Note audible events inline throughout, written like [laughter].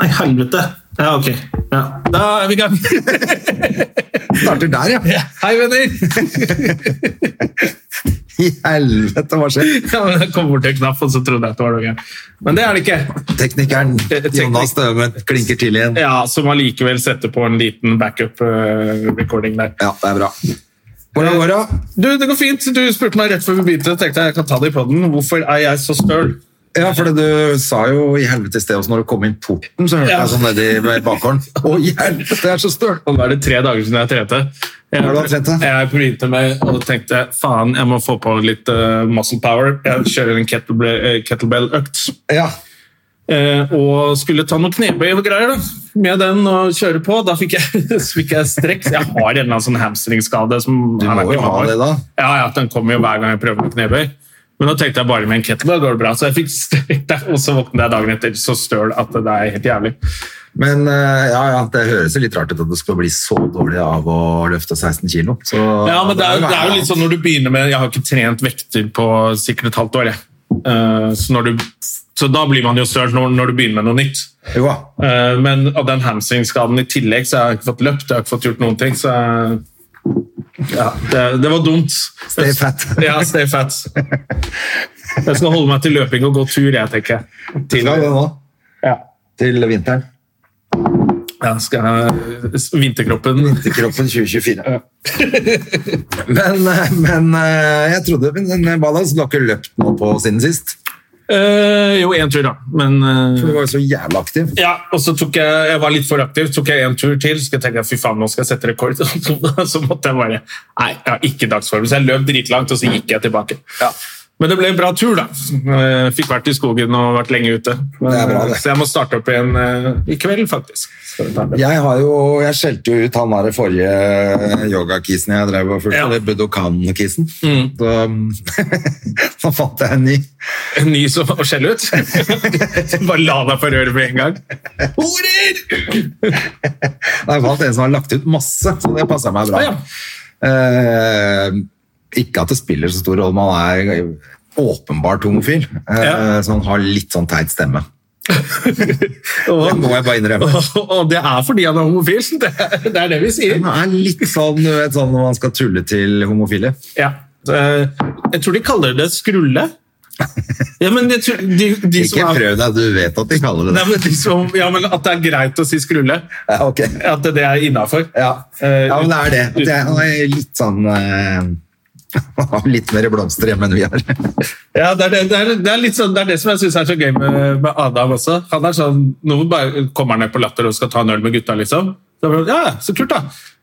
Nei, helvete. Ja, ok. Ja. Da er vi i gang. [laughs] Starter der, ja. Hei, venner! [laughs] I helvete, hva skjer? Ja, men jeg kom bort til en knapp, og så trodde jeg at det var noe. Men det er det ikke. Teknikeren Teknik- Jonas Døme klinker til igjen. Ja, Som allikevel setter på en liten backup-recording der. Ja, det er bra. Hvordan går det? Du, det går fint. Du spurte meg rett før vi begynte. tenkte jeg jeg kan ta det i podden. Hvorfor er jeg så støl? Ja, for du sa jo i helvete i sted også når du kom inn porten, så hørte Ja. jeg sånn nedi [laughs] bakgården. Å, i helvete, jeg er så støl! Og nå er det tre dager siden jeg trente. Jeg, Har du hatt trent, da? jeg begynte med og tenkte faen, jeg må få på litt eh, muscle power. Jeg kjører en kettlebe- eh, kettlebell-økt. Ja. Eh, og skulle ta noen knebøy og greier da, med den og kjøre på. Da fikk jeg, [laughs] så fikk jeg strekk. Jeg har en eller annen sånn hamstringskade. Som Du jeg vet må ikke jo ha hva det, var. da. Ja, ja, den kommer jo hver gang jeg prøver med knebøy. Men nå tenkte jeg bare med en kettlebell går det bra, så jeg fikk strekk der. Og så våknet jeg dagen etter så støl at det er helt jævlig. Men eh, ja, ja, det høres jo litt rart ut at det skal bli så dårlig av å løfte 16 kilo. Så, Ja, men det er, jo- det er jo litt sånn når du begynner med Jeg har ikke trent vekter på sikkert et halvt år, jeg. Eh, så, når du, så da blir man jo støl når, når du begynner med noe nytt. Jo da. Eh, Men av den hamstringskaden i tillegg, så har jeg ikke fått løpt, jeg har ikke fått gjort noen ting, så jeg- ja, det, det var dumt. Stay fat. Ja, stay fat. Jeg skal holde meg til løping og gå tur, jeg, tenker jeg. Til det nå, Ja. til vinteren. Ja, skal jeg, vinterkroppen Vinterkroppen 2024. [laughs] men, eh, men eh, jeg trodde men den Ballas, du har ikke løpt nå på siden sist. Eh, Jo, én tur, da. Men eh, Du var jo så jævla aktiv. Ja, og så tok jeg, jeg var litt for aktiv, tok jeg en tur til, så tenkte jeg, fy faen, nå skal jeg sette rekord. [laughs] Så måtte jeg bare, nei, jeg har ikke dagsform. Så jeg løp dritlangt, og så gikk jeg tilbake. Men det ble en bra tur da. Eh, Fikk vært i skogen og vært lenge ute. Men, Det er bra, det. eh, Så jeg må starte opp igjen eh, i kveld, faktisk. Så vi tar det. Jeg, har jo, jeg skjelte jo ut han der forrige yogakisen jeg drev og fulgte, Ja. Mm. eller Budokan-kisen. Så, så [laughs] fant jeg en ny. En ny som å skjelle ut. [laughs] bare la deg for øret med en gang. Horer! Nei, Jeg fant en som har lagt ut masse, så det passer meg bra. Ja, ja. Eh, ikke at det spiller så stor rolle, man er åpenbart homofil, eh, Ja. så man har litt sånn teit stemme. Det Og, må jeg bare innrømme. og det er fordi han er homofil. Det, det er det vi sier. Den er litt sånn, du vet, sånn når man skal tulle til homofile. Ja. Eh, Jeg tror de kaller det skrulle. Ja, men jeg tror de, de som Ikke er, prøv deg, du vet at de kaller det Nei, det. men de som, ja, men at det er greit å si skrulle. Ja, ok. At det er innafor. Ja. Eh, ja, men det er det. At jeg- Han er litt sånn eh, [laughs] han har litt mer blomster hjemme enn vi har. Ja, det, er det, det, er, det, er litt sånn, det er det som jeg syns er så gøy med, med Adam også. Han er sånn, Nå bare kommer han ned på Latter og skal ta en øl med gutta, liksom. Så er det sånn, ja, så kult, da.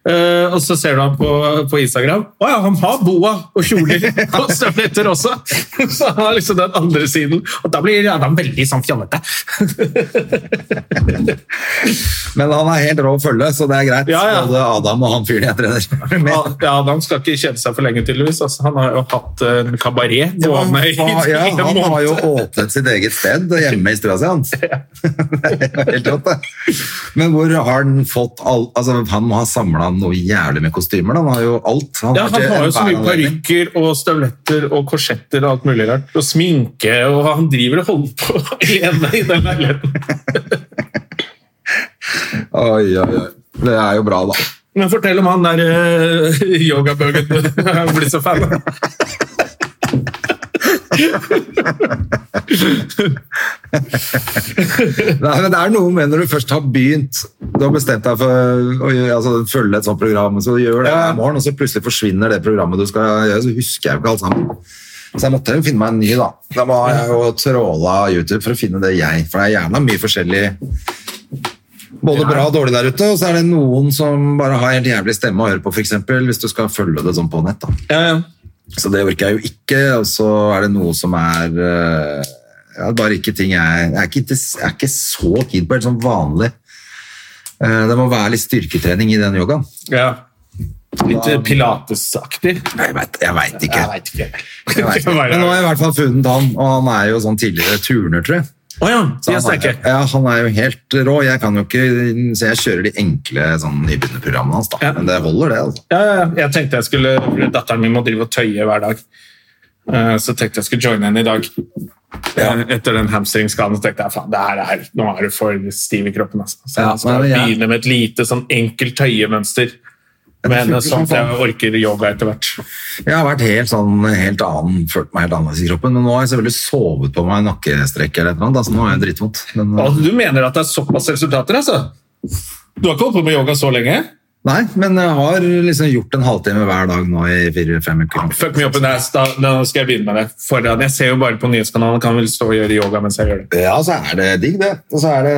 Eh, og så ser du ham på, på Instagram. Å ja, han har boa og [laughs] kjoler og støvletter også! Så han har liksom den andre siden. Og da blir Adam veldig sånn fjollete. Men han er helt rå å følge, så det er greit. Ja, ja. Både Adam og han fyren jeg trener Ja, med. ja, han skal ikke kjede seg for lenge, tydeligvis. Altså, han har jo hatt eh, en kabaret gående i Han var- [laughs] ja, i en han har jo måned. åpnet sitt eget sted hjemme i stua si, [laughs] han. Det er [laughs] Helt rått, det. Men hvor har han fått all, altså, Han må ha samla noe jævlig med kostymer. da. Han har jo alt. Ja, han til har jo så enhver mye anledning. parykker og støvletter og korsetter og alt mulig rart. Og sminke, og han driver og holder på [laughs] alene i den leiligheten. Oi, oi, oi. Det er jo bra, da. Men fortell om han der uh, yogabøgen [laughs] du er blitt så fan av. Nei, men det er noe med når du først har begynt Du har bestemt deg for å gjøre- altså, følge et sånt program, så du gjør det hver morgen, og så plutselig forsvinner det programmet du skal gjøre, så husker jeg jo ikke alt sammen. Så jeg måtte jo finne meg en ny, da. Da må jeg jo tråla YouTube for å finne det jeg For det er gjerne mye forskjellig både bra og dårlig der ute, og så er det noen som bare har helt jævlig stemme å høre på, f.eks. Hvis du skal følge det sånn på nett, da. Ja, ja. Så det orker jeg jo ikke. Og så er det noe som er eh, ja, bare ikke ting jeg, jeg, er ikke, inter- jeg er ikke så keen på, helt sånn vanlig. Eh, Det må være litt styrketrening i den yogaen. Ja. Litt eh, pilatesaktig. Jeg vet, jeg vet ikke. Jeg veit ikke. vet [laughs] ikke. Men nå har jeg i hvert fall funnet han, og han er jo sånn tidligere turner, tror jeg. Å ja, de er han er, sterke. ja, han er jo helt rå. Jeg kan jo ikke, så jeg kjører de enkle sånn, nybegynnerprogrammene hans, da. Ja. Men det holder, det. altså. Ja, ja, ja. jeg tenkte jeg skulle fordi Datteren min må drive og tøye hver dag. Eh, Så tenkte jeg skulle joine henne i dag. Eh, Etter den hamstringskaden så tenkte jeg faen, det her er, nå er du for stiv i kroppen. Altså. Så Ja, jeg skal men jeg- begynne med et lite, sånn enkelt tøyemønster. Men funker sånn som at jeg orker yoga etter hvert. Jeg har vært helt sånn, helt annen, følt meg helt annerledes i kroppen, men nå har jeg selvfølgelig sovet på meg en nakkestrekk eller et eller annet, altså nå er jeg dritvondt. Men, Altså, du mener at det er såpass resultater, altså? Du har ikke holdt på med yoga så lenge? nei, men jeg har liksom gjort en halvtime hver dag nå i fire-fem uker. Ah, Fuck me up in the ass, da, da skal jeg begynne med det. Foran. Jeg ser jo bare på nyhetskanalen, kan vel stå og gjøre yoga mens jeg gjør det. Ja, så er det digg, det. Og så er det,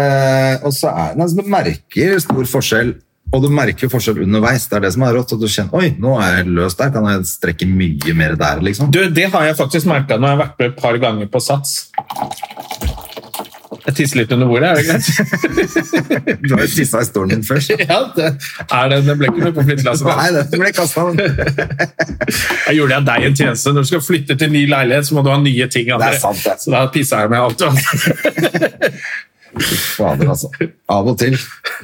og så er det altså, Du merker stor forskjell, og du merker forskjell underveis. Det er det som er rått. At du kjenner Oi, nå er jeg løs der. Kan jeg strekke mye mer der, liksom? Du, det har jeg faktisk merka når jeg har vært med et par ganger på Sats. Jeg tisser litt under bordet, er det [laughs] greit? Du har jo tissa i stolen din først. [laughs] ja, det er det. Det ble ikke noe på flyttelasset. Nei, det ble kastet Det Jeg gjorde jeg deg en tjeneste. Når du skal flytte til ny leilighet, så må du ha nye ting. Andre. Det er sant, det. Så da pisser jeg med alt. altså. du har. Fader, altså. Av og til.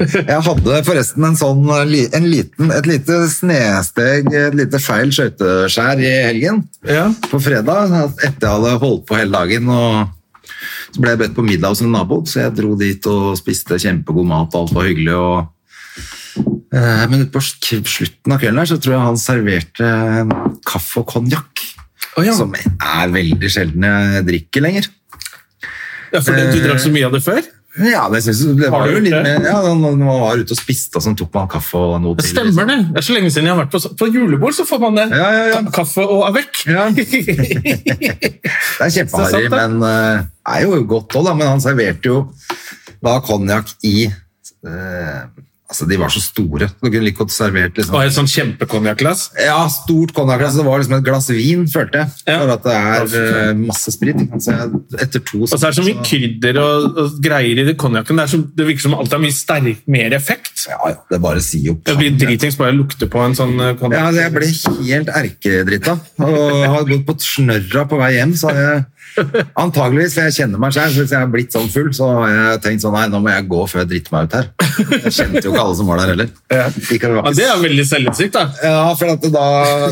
Jeg hadde forresten en sånn, eh, li- en liten, et lite snesteg, et lite feil skøyteskjær i helgen. [laughs] Ja. På fredag, etter jeg hadde holdt på hele dagen. og Så ble jeg bedt på middag hos en nabo, så jeg dro dit og spiste kjempegod mat. og Alt var hyggelig. og eh, men ut på sk- slutten av kvelden her, så tror jeg han serverte eh, kaffe og konjakk. Å ja. Som er veldig sjelden jeg drikker lenger. ja, for det, du drakk så mye av det før? Ja, det synes jeg. Det var Har jo du gjort litt det? mer, ja, når når man var ute og spiste, og sånn, tok man kaffe og noe Det til. liksom. stemmer, det. Det er så lenge siden jeg har vært på, på julebord, så får man det. Ja, ja, ja. Ka- Kaffe og avec. Ja. liksom. Det er Det kjempeharry, er sant, det. men eh, det er jo godt også, da. Men han serverte jo da konjakk i eh, Altså, de var så store. Du kunne like godt servert liksom [laughs] og et sånn kjempekonjakkglass. Ja, stort konjakkglass. Det var liksom et glass vin, følte jeg. Ja. For at det er eh, masse sprit. ikke sant? Så jeg- etter to Og så er det så mye krydder og, og greier i det konjakken. Det, er så- det virker som alt har mye sterk, mer effekt. Ja, ja. Det bare sier jo Jeg blir dritings bare jeg lukter på en sånn eh, Ja, konjakk. altså, jeg ble helt erkedritta. Og har gått på snørra på vei hjem, så har jeg Antageligvis, for jeg kjenner meg selv, så hvis jeg har blitt sånn full, så har jeg tenkt sånn Nei, nå må jeg gå før jeg driter meg ut her. Jeg kjente jo ikke alle som var der heller. Ikke, Ja, det er veldig selvinnsikt, da. ja, for at da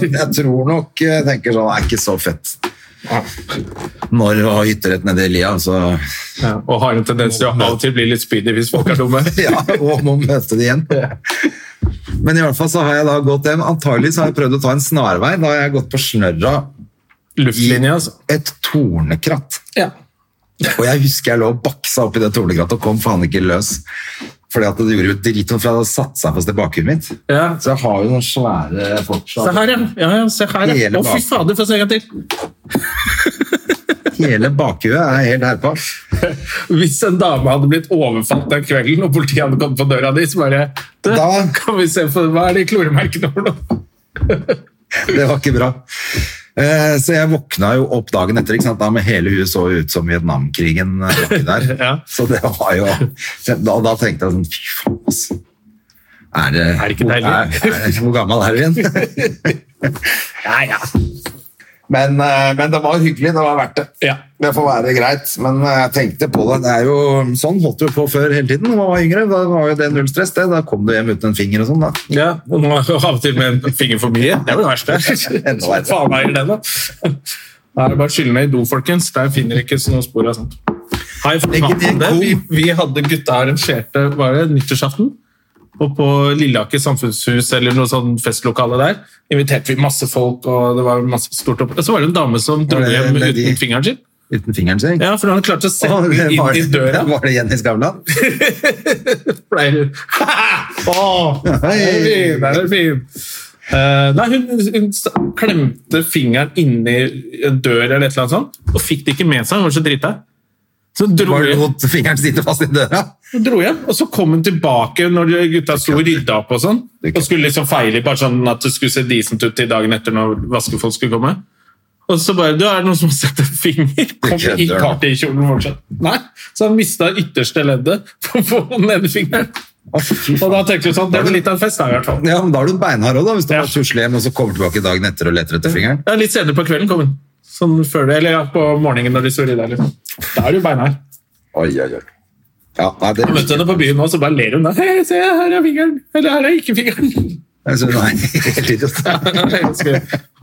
Jeg tror nok jeg tenker sånn Det er ikke så fett. Når du har hytterett nede i lia, så [laughs] Ja, og har en tendens til å av og til bli litt spydig hvis folk er dumme. Ja, og må møte det igjen. Men i hvert fall så har jeg da gått hjem. Antageligvis har jeg prøvd å ta en snarvei. Da har jeg gått på snørra Luftlinja, altså. et tornekratt. Ja. Og jeg husker jeg lå og baksa oppi det tornekrattet og kom faen ikke løs. Fordi at det gjorde jo dritvondt, for jeg hadde satt seg fast i bakhuet mitt. Ja. Så jeg har jo noen svære Se fortsatt. her, ja. ja, ja se her, ja. Hele Å, fy baken. fader, få se en gang til. Hele bakhuet er helt herpa. Hvis en dame hadde blitt overfalt den kvelden, og politiet hadde kommet på døra di, så bare du, Da- Kan vi se for Hva er de kloremerkene for noe? [laughs] Det var ikke bra. Eh, Så jeg våkna jo opp dagen etter, ikke sant? da med hele huet så ut som Vietnamkrigen eh, var ikke der. [laughs] Ja. Så det var jo Da, da tenkte jeg sånn Fy faen, altså. Er det, Er det ikke deilig? Er, er, hvor gammel er du igjen? [laughs] Ja, ja. Men, eh, men det var hyggelig. Det var verdt det. Ja. Det får være greit, men eh, jeg tenkte på det. det er jo, sånn holdt du på før hele tiden når man var yngre. Da var jo det null stress. Det. Da kom du hjem uten en finger og sånn. da. ja. Og nå har jeg av og til med en finger for mye. Det er jo det verste. [laughs] Enda verre. Faen eier det, da. [laughs] Da er det bare å skylle ned i do, folkens. Der finner dere ikke så noe spor av sånt. Hei, for Legg det i en det. kom. Vi, vi hadde gutta arrangerte var det nyttårsaften. Og på Lilleaker samfunnshus eller noe sånn festlokale der inviterte vi masse folk. og det var masse stort opp. Og så var det en dame som dro Var det hjem Lady- uten fingeren sin. Uten fingeren sin. Ja, For han klarte å sette Å, den var, inn i døra. var det Jenny Skavlan? Blei hun [laughs] Åh, Den er fin! Den er fin. Eh, nei, hun, hun s- klemte fingeren inni en dør eller et eller annet sånt, og fikk det ikke med seg. Hun var så drita. Så hun dro Var det hjem, mot fingeren sitter fast i døra? hun dro hjem, og så kom hun tilbake når de gutta sto og rydda opp og sånn. Og skulle liksom feile, bare sånn at det skulle se decent ut til dagen etter når vaskefolk skulle komme. Og så bare Du, er det noen som har sett en finger? Kom i Kødder du? partykjolen fortsatt. Nei. Så han mista ytterste leddet for å få den ene fingeren. Å, fy Og faen. da tenkte vi sånn Det blir litt av en fest, da, i hvert fall. Ja, men da er du beinhard òg, hvis du Ja. bare tusler hjem og så kommer tilbake dagen etter og leter etter fingeren. Ja, litt senere på kvelden kom hun. Sånn før det, eller ja, på morgenen når de står i der. Liksom. Da er du beinhard. Oi, oi, oi. Ja, nei, det Jeg møtte henne på byen nå, så bare ler hun da. Hei, se, her er fingeren. Eller her er ikke fingeren. [laughs] Jeg synes, nei, [laughs] helt idiot. Ganske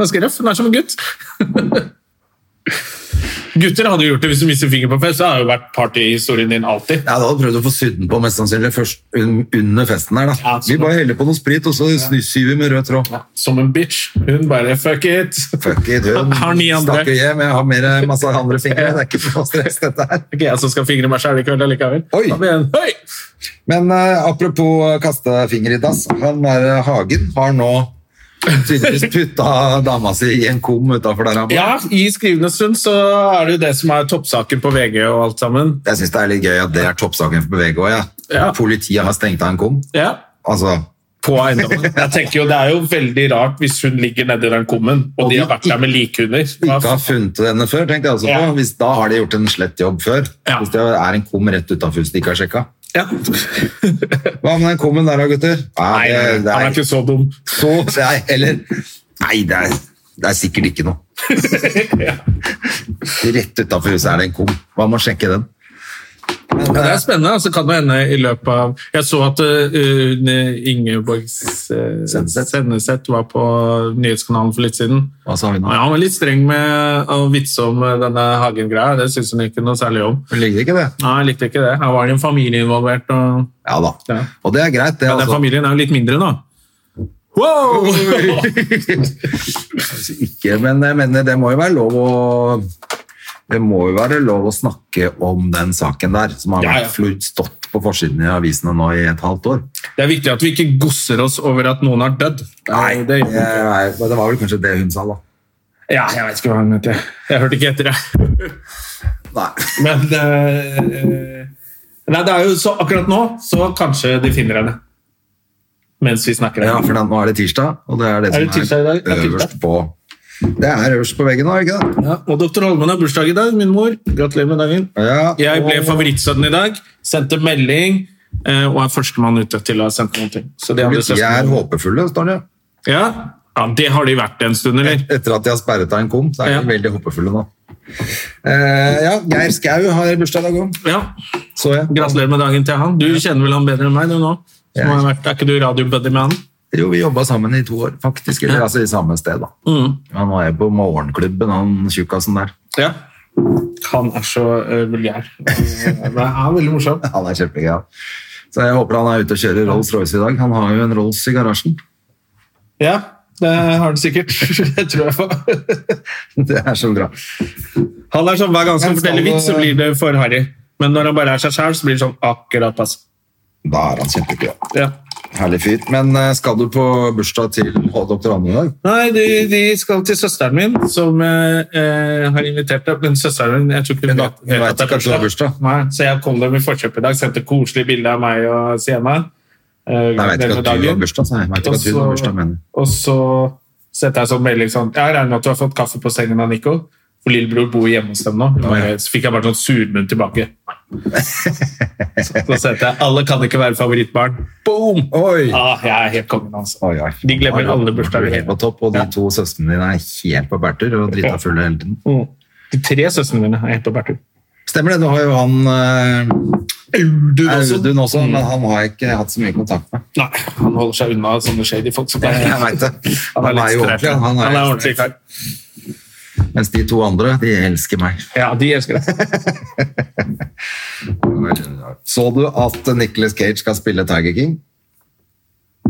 ganske røff. Hun er som en gutt. [laughs] Gutter hadde jo gjort det hvis du mister finger på fest. Det har jo vært partyhistorien din alltid. Ja, da hadde prøvd å få sydd den på mest sannsynlig først un under festen her, da. Ja, så- vi bare heller på noe sprit, og så sny- syr vi med rød tråd. Som en bitch. Hun bare fuck it. [laughs] Fuck it, hun Har ni andre. snakker hjem, jeg har mer, eh, masse andre fingre, det er ikke for noe stress dette her. Det er ikke jeg som altså, skal fingre meg sjæl i kveld allikevel. Oi. Da blir jeg- Oi! Men eh, apropos kaste finger i dass, han der eh, Hagen har nå tydeligvis putta dama si i en kom utafor der han bor. Ja, i skrivende stund så er det jo det som er toppsaken på VG og alt sammen. Jeg syns det er litt gøy at det er toppsaken for VG òg, ja. Ja. Politiet har stengt av en kom. Ja. Altså, på eiendommen. Jeg tenker jo, Det er jo veldig rart hvis hun ligger nedi den kummen, og de har vært der med likhunder. ikke Ja, har funnet henne før, tenkte jeg altså på. Ja. Hvis, da har de gjort en slett jobb før. Ja. Hvis det er en kom rett utafor hvis de ikke har sjekka. ja. Hva med den kummen der da, gutter? Nei, det, han det er er ikke så dum. så det er heller Nei, det er, det er sikkert ikke [laughs] noe. Rett utafor huset er det en kom. Man må sjekke den. Ja, det er spennende. altså kan det hende i løpet av... Jeg så at uh, Ingeborg Senneset. Senneset eh, var på nyhetskanalen for litt siden. Hva sa vi Og nå? ja, Han var litt streng med å vitse om eh, denne Hagen-greia. Det syns hun ikke noe særlig om. Ligger ikke det? Nei, jeg likte ikke det. Her var det en familie involvert. og... Ja da. Ja. Og det er greit, det. Men den Altså. familien er jo litt mindre nå. Wow! Ikke, men jeg mener, det må jo være lov å det må jo være lov å snakke om den saken der, som har Ja, ja. vært flut- stått på forsiden i avisene nå i et halvt år. Det er viktig at vi ikke gosser oss over at noen har dødd. det, det, er- det var vel kanskje det hun sa, da. ja, jeg vet ikke hva han heter. Jeg hørte ikke etter, jeg. Nei. [laughs] Men eh, Nei, det er jo så akkurat nå, så kanskje de finner henne. Mens vi snakker. Ja, for da, nå er det tirsdag, og det er det Er det som tirsdag i dag? Ja, er øverst tirsdag. på Det er øverst på veggen nå, er det ikke det? Ja, og doktor Holmen har bursdag i dag, min mor. Gratulerer med dagen. Ja, Jeg ble og- favorittsønnen i dag. Sendte melding. eh, Og er førstemann ute til å ha sendt noen ting. Så de andre Politiet er søstrene- håpefulle, står det. ja? ja, det har de vært en stund, eller? Etter at de har sperret av en kom, så er de Ja. veldig håpefulle nå. Eh, ja, Geir Skau har bursdag i dag òg, Ja. så jeg. Gratulerer med dagen til han. Du kjenner vel han bedre enn meg du nå? Som Jeg- har vært, er ikke du radiobuddy med han? Jo, vi jobba sammen i to år, faktisk. Eller altså i samme sted, da. Mm. Han var jo på morgenklubben, han tjukkasen der. Ja. Han er så eh, [laughs] vulgær. Eh, Men han er veldig morsom. Han er kjempegøy. han. Så jeg håper han er ute og kjører Rolls-Royce i dag. Han har jo en Rolls i garasjen. [laughs] Ja, det har han sikkert. [laughs] Det tror jeg på. Det er så bra. Han er sånn hver gang han eh, Men skal forteller vits, så det- blir det for harry. Men når han bare er seg sjæl, så blir det sånn akkurat passe. Da er han kjempegøy. Ja. Herlig fyr. Men eh, skal du på bursdag til doktor Anne i dag? Nei, de, de skal til søsteren min, som eh, eh, har invitert deg. Men søsteren min jeg tror ikke Hun hun vet- hun vet at det er ikke at det er bursdag. Nei, så jeg kom dem i forkjøp i dag, sendte koselig bilde av meg og Sienna. eh, Jeg vet ikke denne at du dagen. har bursdag, sa jeg. Jeg vet ikke Og at hun så- har bursdag, mener jeg. Og så setter jeg sånn melding sånn Jeg regner med at du har fått kaffe på sengen av Nico. For lillebror bor hjemme hos dem nå. Og ja. jeg- Så fikk jeg bare sånn surmunn tilbake. Så så setter jeg Alle kan ikke være favorittbarn. Boom! Oi! Ah, jeg er helt kongen, altså. Oi, oi. De glemmer Oi, alle Du bursdager. er helt på topp, og de to søstrene dine er helt på bærtur og drita fulle hele tiden. Mm. De tre søstrene mine er helt på bærtur. Stemmer det, du har jo han Audun eh, også. Audun også, men han har jeg ikke hatt så mye kontakt med. Nei, han holder seg unna sånne shady folk som deg. Jeg vet det. Han er, jo litt ordentlig, streit. han. Han er han er, ordentlig kar. mens de to andre, de elsker meg. Ja, de elsker det. Så du at Nicolas Cage skal spille Tiger King?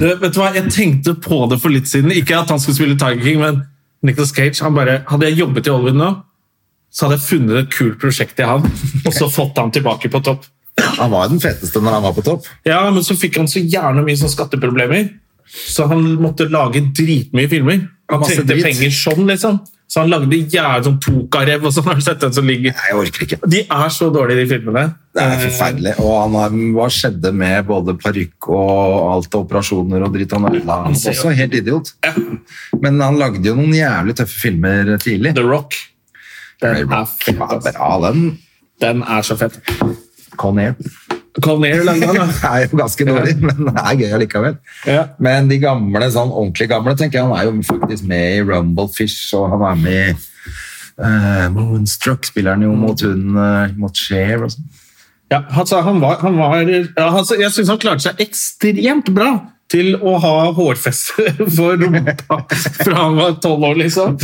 Du, vet du hva, Jeg tenkte på det for litt siden. Ikke at han skulle spille Tiger King, men Nicolas Cage han bare, Hadde jeg jobbet i Hollywood nå, så hadde jeg funnet et kult prosjekt til han, og så fått han tilbake på topp. Han var jo den feteste når han var på topp. Ja, Men så fikk han så gjerne mye sånn skatteproblemer, så han måtte lage dritmye filmer. Han Masse trengte drit. penger sånn, liksom. Så han lagde jævlig sånn tokarev og sånn. Har du sett den som ligger Nei, jeg orker ikke. De er så dårlige, de filmene. Det er forferdelig. Og han har, hva skjedde med både parykk og alt og operasjoner og dritt? Han er han er også helt idiot. Men han lagde jo noen jævlig tøffe filmer tidlig. The Rock. Den er, Rock fett, var ass. bra, den. den er så fett. Con Air. Colnair lagde [laughs] den, da. er jo ganske dårlig, men det er gøy allikevel. Ja. Men de gamle, sånn ordentlig gamle, tenker jeg, han er jo faktisk med i Rumblefish, og han er med i eh, Moonstruck, spiller han jo mot hun, eh, mot Cher og sånn. [laughs] Ja, altså, han var, han var, ja, altså, jeg syns han klarte seg ekstremt bra til å ha hårfeste [laughs] for rumpa fra han var tolv år, liksom.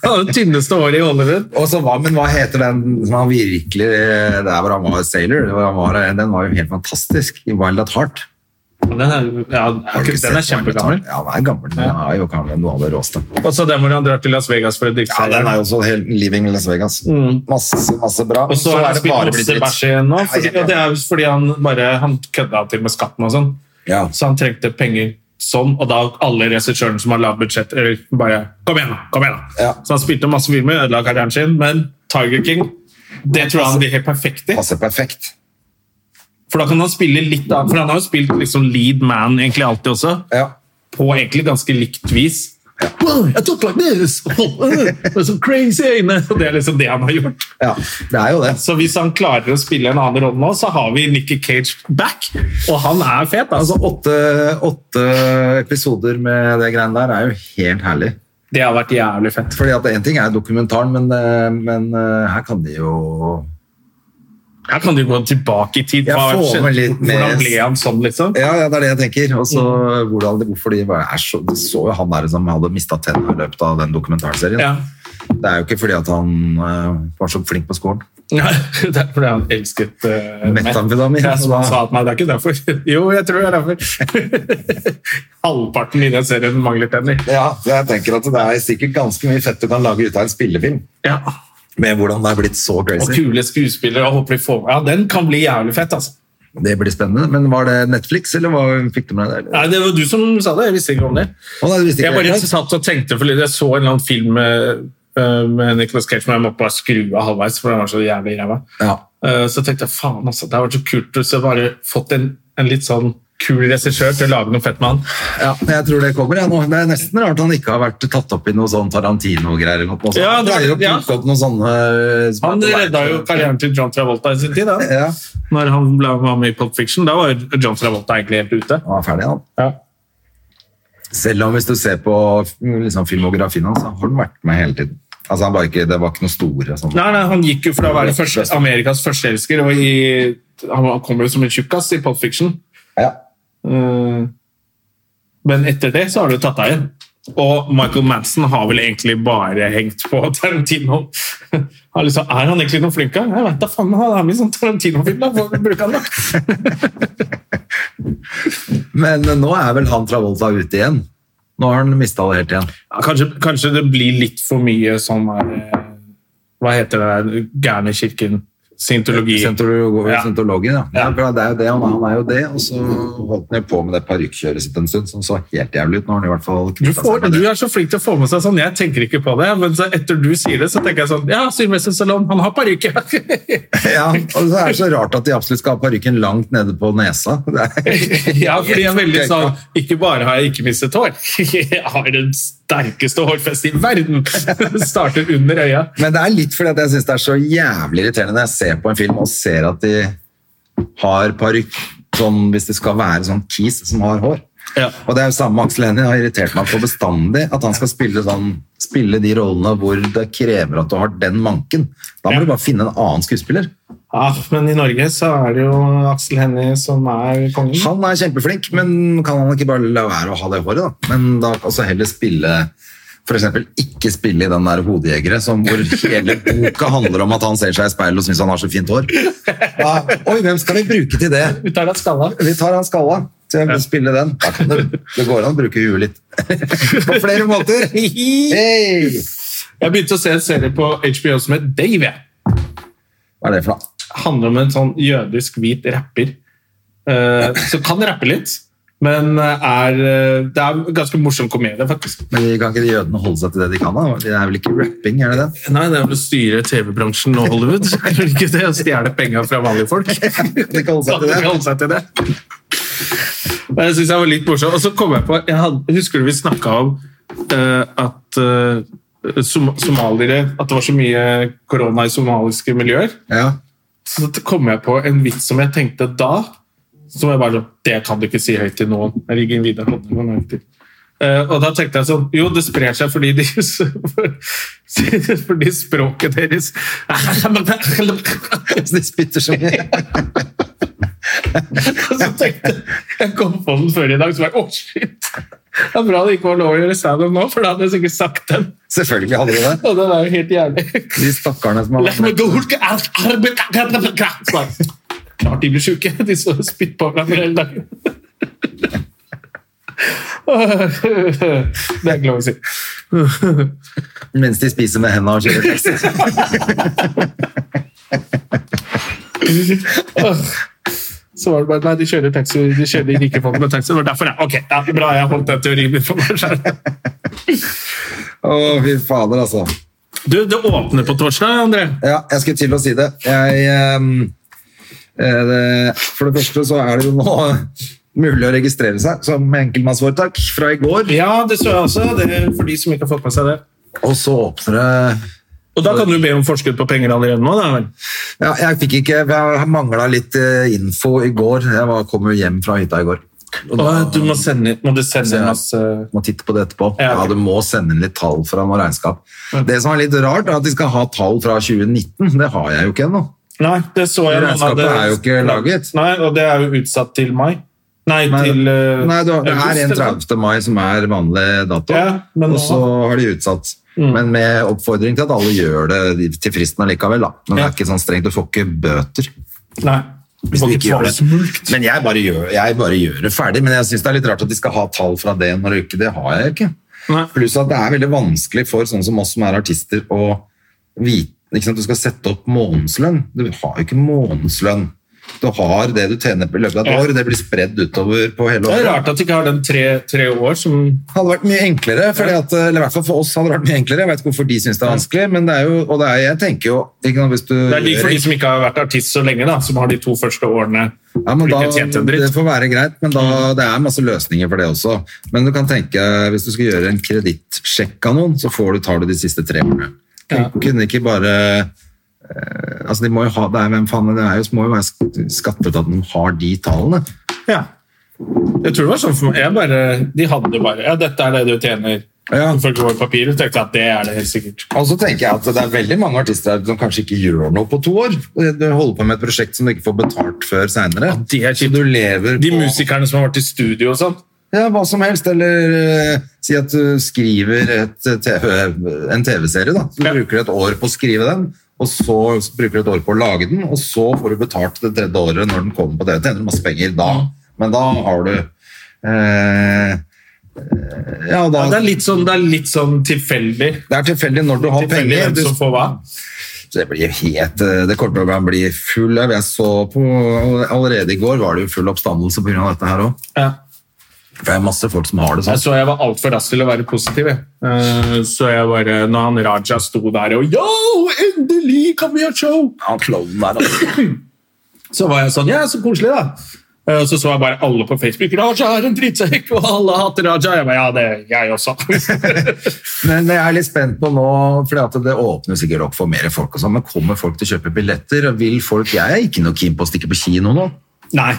Han hadde det tynneste håret i Hollywood. Og så hva, men hva heter den som han virkelig, eh, der hvor han var sailor, hvor han var, den var jo helt fantastisk, i Wild at Heart. Den er, ja, Har du ikke den er sett Wild at kjempegammel. Heart? Ja, den er gammel, den er jo gammel, noe av det råste. Og så den hvor han drar til Las Vegas for å drikke Ja, seg. den er jo så helt Living Las Vegas. Masse, masse bra. Mm. Og så har han spilt blitt masse dritt. bæsj igjen nå. Ja, For, ja, ja. og det er fordi han bare han kødda til med skatten og sånn. Ja. Så han trengte penger sånn, og da alle regissørene som har lavt budsjett, eller bare Kom igjen, da! kom igjen da. Ja. Så han spilte masse filmer, ødela karrieren sin, men Tiger King det tror jeg han blir helt perfekt i. Passer perfekt. For da kan han spille litt av, for han har jo spilt liksom lead man egentlig alltid også, Ja. på egentlig ganske likt vis. Wow, I talk like this! [laughs] Oh, uh, I'm so crazy! Og det er liksom det han har gjort. Ja, det er jo det. Så hvis han klarer å spille en annen rolle nå, så har vi Nicky Cage back. Og han er fet, Altså, altså. åtte, åtte episoder med det greiene der er jo helt herlig. Det har vært jævlig fett. Fordi at en ting er dokumentaren, men, eh, men eh, her kan de jo Her kan du gå tilbake i tid. Jeg Hva får skjedde? med litt mer- Hvordan ble han sånn, liksom? Ja, ja, det er det jeg tenker. Og så Mm. hvordan de- hvorfor de bare er så Du så jo han der som hadde mista tenna i løpet av den dokumentarserien. Ja. Det er jo ikke fordi at han eh, var så flink på skolen. Ja, [laughs] det er fordi han elsket uh, Metamfetamin. Ja, som han sa at nei, det er ikke derfor. [laughs] jo, jeg tror det er derfor. [laughs] Halvparten i den serien mangler tenner. Ja, så jeg tenker at det er sikkert ganske mye fett du kan lage ut av en spillefilm. Ja. Med hvordan det er blitt så Og crazy. kule skuespillere. og håper vi får Ja, den kan bli jævlig fett, altså. Det blir spennende. Men var det Netflix, eller hva fikk du med deg? Nei, det var du som sa det. Jeg visste ikke om det. Å, nei, du visste Jeg ikke bare det. satt og tenkte fordi jeg så en eller annen film med, eh, med Nicolas Cage, men jeg måtte bare skru av halvveis, for den var så jævlig ræva. Ja. Eh, Så tenkte jeg faen, altså, det har vært så kult hvis jeg bare fått en, en litt sånn kul regissør til å lage noe fett med han. ja, jeg tror det kommer. Ja, nå. Det er nesten rart han ikke har vært tatt opp i noe sånn Tarantino-greier. eller noe sånt. Ja, han det er- pleier å ja. plukke opp noen sånne som er Han på vei redda jo til- karrieren til John Travolta i sin tid, da. Ja, Når han ble var med i Pulp Fiction, da var jo John Travolta egentlig helt ute. han er ferdig, han. Ja. Selv om hvis du ser på liksom, filmografien hans, så har han vært med hele tiden. Altså, han var ikke, det var ikke noe store sånn. Nei, nei, han gikk jo fra å være første, Amerikas førsteelsker, og i, han var- kom jo som en tjukkas i Pulp Fiction. Ja. Eh, Men etter det så har du tatt deg igjen. Og Michael Manson har vel egentlig bare hengt på Tarantino. [laughs] Han liksom, er han egentlig noen flink? av? Jeg vet da faen, men han er med i sånn Tarantino-film. da. Hva bruker han da? Men eh, nå er vel han Travolta ute igjen. Nå har han mista det helt igjen. [laughs] Ja, kanskje, kanskje det blir litt for mye sånn der eh, Hva heter det der gærne kirken? Scientologi. Scientologi, Ja. Scientologi, ja. Ja. Ja, for Det er jo det, han er, han er jo det. Og så holdt han jo på med det parykkjøret sitt en stund, som så helt jævlig ut. Nå har han i hvert fall Du, knyttet får, med du det. er så flink til å få med seg sånn. Jeg tenker ikke på det, men så etter du sier det, så tenker jeg sånn Ja, Sylvester Stallone, han har parykk! [laughs] Ja, og så er det så rart at de absolutt skal ha parykken langt nede på nesa. Det [laughs] er- Ja, fordi jeg er veldig sånn Ikke bare har jeg ikke mistet hår, [laughs] jeg har den sterkeste hårfestet i verden! Det starter under øya. Men det er litt fordi at jeg syns det er så jævlig irriterende når jeg ser på en film og ser at de har parykk, sånn hvis det skal være sånn kis som har hår. Ja. Og det er jo samme med Aksel Hennie, har irritert meg på bestandig at han skal spille, sånn, spille de rollene hvor det krever at du har den manken. Da må Ja. du bare finne en annen skuespiller. Ja, Ah, men i Norge så er det jo Aksel Hennie som er kongen. Han er kjempeflink, men kan han ikke bare la være å ha det håret, da? Men da også heller spille for eksempel ikke spille i den der hodejegere som hvor hele boka handler om at han ser seg i speilet og syns han har så fint hår. Da, Oi, hvem skal vi bruke til det? Ut av deg [laughs] skalla. Vi tar han skalla til å spille den. Da kan du, det går an å bruke huet litt. [laughs] På flere måter. Hei! Jeg begynte å se en serie på HBO som het Dave. jeg. Hva er det for noe? handler om en sånn jødisk hvit rapper eh, som kan rappe litt, Men er, eh, det er en ganske morsom komedie, faktisk. Men de kan ikke de jødene holde seg til det de kan? da? Det er vel ikke rapping, er det det? Nei, det er vel å styre TV-bransjen og Hollywood. [laughs] Er det ikke det? Å stjele penger fra vanlige folk. [laughs] De kan ikke holde Så seg til hadde de det. holdt seg til det. Men jeg synes jeg var litt morsom. Og så kom jeg på jeg hadde, Husker du vi snakka om eh, at eh, som, somaliere At det var så mye korona i somaliske miljøer? Ja. Så da kom jeg på en vits som jeg tenkte da, som jeg bare sånn, Det kan du ikke si høyt til noen. Jeg ligger inn videre, holder meg nøye til. Eh, og da tenkte jeg sånn Jo, det sprer seg fordi de [laughs] Fordi språket deres Så de spytter så mye. [laughs] Og så tenkte jeg- Jeg kom på den før i dag, så bare Å, shit! Det er bra det ikke var lov å gjøre standup nå, for da hadde jeg sikkert sagt den. Selvfølgelig hadde de det. Og den er jo helt jævlig. De stakkarene som har La meg gå hulke, alt arbeid, Så bare, Klart de blir sjuke. De så og spytt på hverandre hele dagen. Det er ikke lov å si. mens de spiser med hendene og kjører taxi. Så var det bare Nei, de kjører taxi, de kjører de rike folk med taxi. Det var derfor jeg Ok, ja, bra, jeg holdt den teorien min for meg selv. [laughs] Å, fy fader, altså. Du, det åpner på torsdag, André. Ja, jeg skulle til å si det. Jeg, ehm, eh, det. For det første så er det jo nå [laughs] mulig å registrere seg som enkeltmannsforetak fra i går. Ja, det så jeg også. Det er for de som ikke har fått med seg det. Og så åpner det Og da kan du be om forskudd på penger allerede nå, da vel? ja, Jeg fikk ikke Jeg mangla litt eh, info i går. Jeg var, kom jo hjem fra hytta i går. Og da, Å, du må sende, må du sende Ja. en masse må titte på det etterpå. Ja, Ja, ok. Du må sende inn litt tall fra noe regnskap. Det som er litt rart, er at de skal ha tall fra 2019. Det har jeg jo ikke ennå. Nei, det så jeg. noen hadde- Regnskapet er jo ikke laget. Nei, og det er jo utsatt til mai. Nei, Nei, til eh, nei, du har- det august, er en eller? 30. mai som er vanlig dato, Ja, men nå- Mm. og så har de utsatt. Men med oppfordring til at alle gjør det til fristen allikevel. Da. Men det Ja. er ikke sånn strengt, du får ikke bøter. Nei. Hvis Må du ikke ikke gjør få det. smulkt. Men jeg bare gjør, jeg bare gjør det ferdig. Men jeg syns det er litt rart at de skal ha tall fra det når det ikke det har jeg ikke. Nei. Pluss at det er veldig vanskelig for sånne som oss som er artister å vite ikke sant? Du skal sette opp månedslønn. Du har jo ikke månedslønn. Du har det du tjener på i løpet av et Ja. år, og det blir spredd utover på hele Det året. er rart at de ikke har den tre, tre år som hadde vært mye enklere, fordi at, eller i hvert fall for oss hadde det vært mye enklere. Jeg vet ikke hvorfor de syns det er vanskelig, men det er jo, og det er, jeg tenker jo ikke sant, hvis du, Det er de for de som ikke har vært artist så lenge, da, som har de to første årene ja, men hvor de da, ikke har tjent en Det dritt. Mm. får være greit, men da, det er masse løsninger for det også. Men du kan tenke, hvis du skal gjøre en kredittsjekk av noen, så får du, tar du de siste tre årene. Du Ja. kunne ikke bare eh, altså de må jo ha, det er, hvem faen, det er jo, må jo være sk- skatteetaten som har de tallene. Ja. Jeg tror det var sånn for meg. Jeg bare, de hadde bare Ja, dette er det du tjener. Ja. Ifølge våre papirer tenkte jeg at det er det helt sikkert. Og så tenker jeg at det er veldig mange artister her som kanskje ikke gjør noe på to år. Du holder på med et prosjekt som du ikke får betalt før senere. Ja, det er Så kjipt. du lever De på musikerne som har vært i studio og sånn. ja, hva som helst, eller eh, si at du skriver et, eh, TV, en TV-serie, da. Så du Ja. bruker et år på å skrive den, og så bruker du et år på å lage den, og så får du betalt det tredje året når den kommer på TV. Tjener du masse penger da, Mm. men da har du eh, eh, ja, da, Ja, det er litt sånn, det er litt sånn tilfeldig. det er tilfeldig når du har Tilfeldig penger. hvem Du som får hva. Så det blir helt eh, Det kommer til å bli- bli full av Jeg så på Allerede i går var det jo full oppstandelse pga. dette her òg. Ja. For det er masse folk som har det sånn. Jeg så jeg var altfor rask til å være positiv. Jeg. Eh, Så jeg bare, når han Raja sto der og Yo, endelig kan vi ha show! Han klovnen der, altså. Så var jeg sånn Ja, så koselig, da. Eh, Og så så jeg bare alle på Facebook. Raja er en drittsekk, og alle hater Raja. Jeg bare, ja, det er jeg også. [laughs] Men jeg er litt spent på nå, for det åpner sikkert opp for mer folk. og sånn, Men kommer folk til å kjøpe billetter? og Vil folk Jeg er ikke noe keen på å stikke på kino nå. Nei.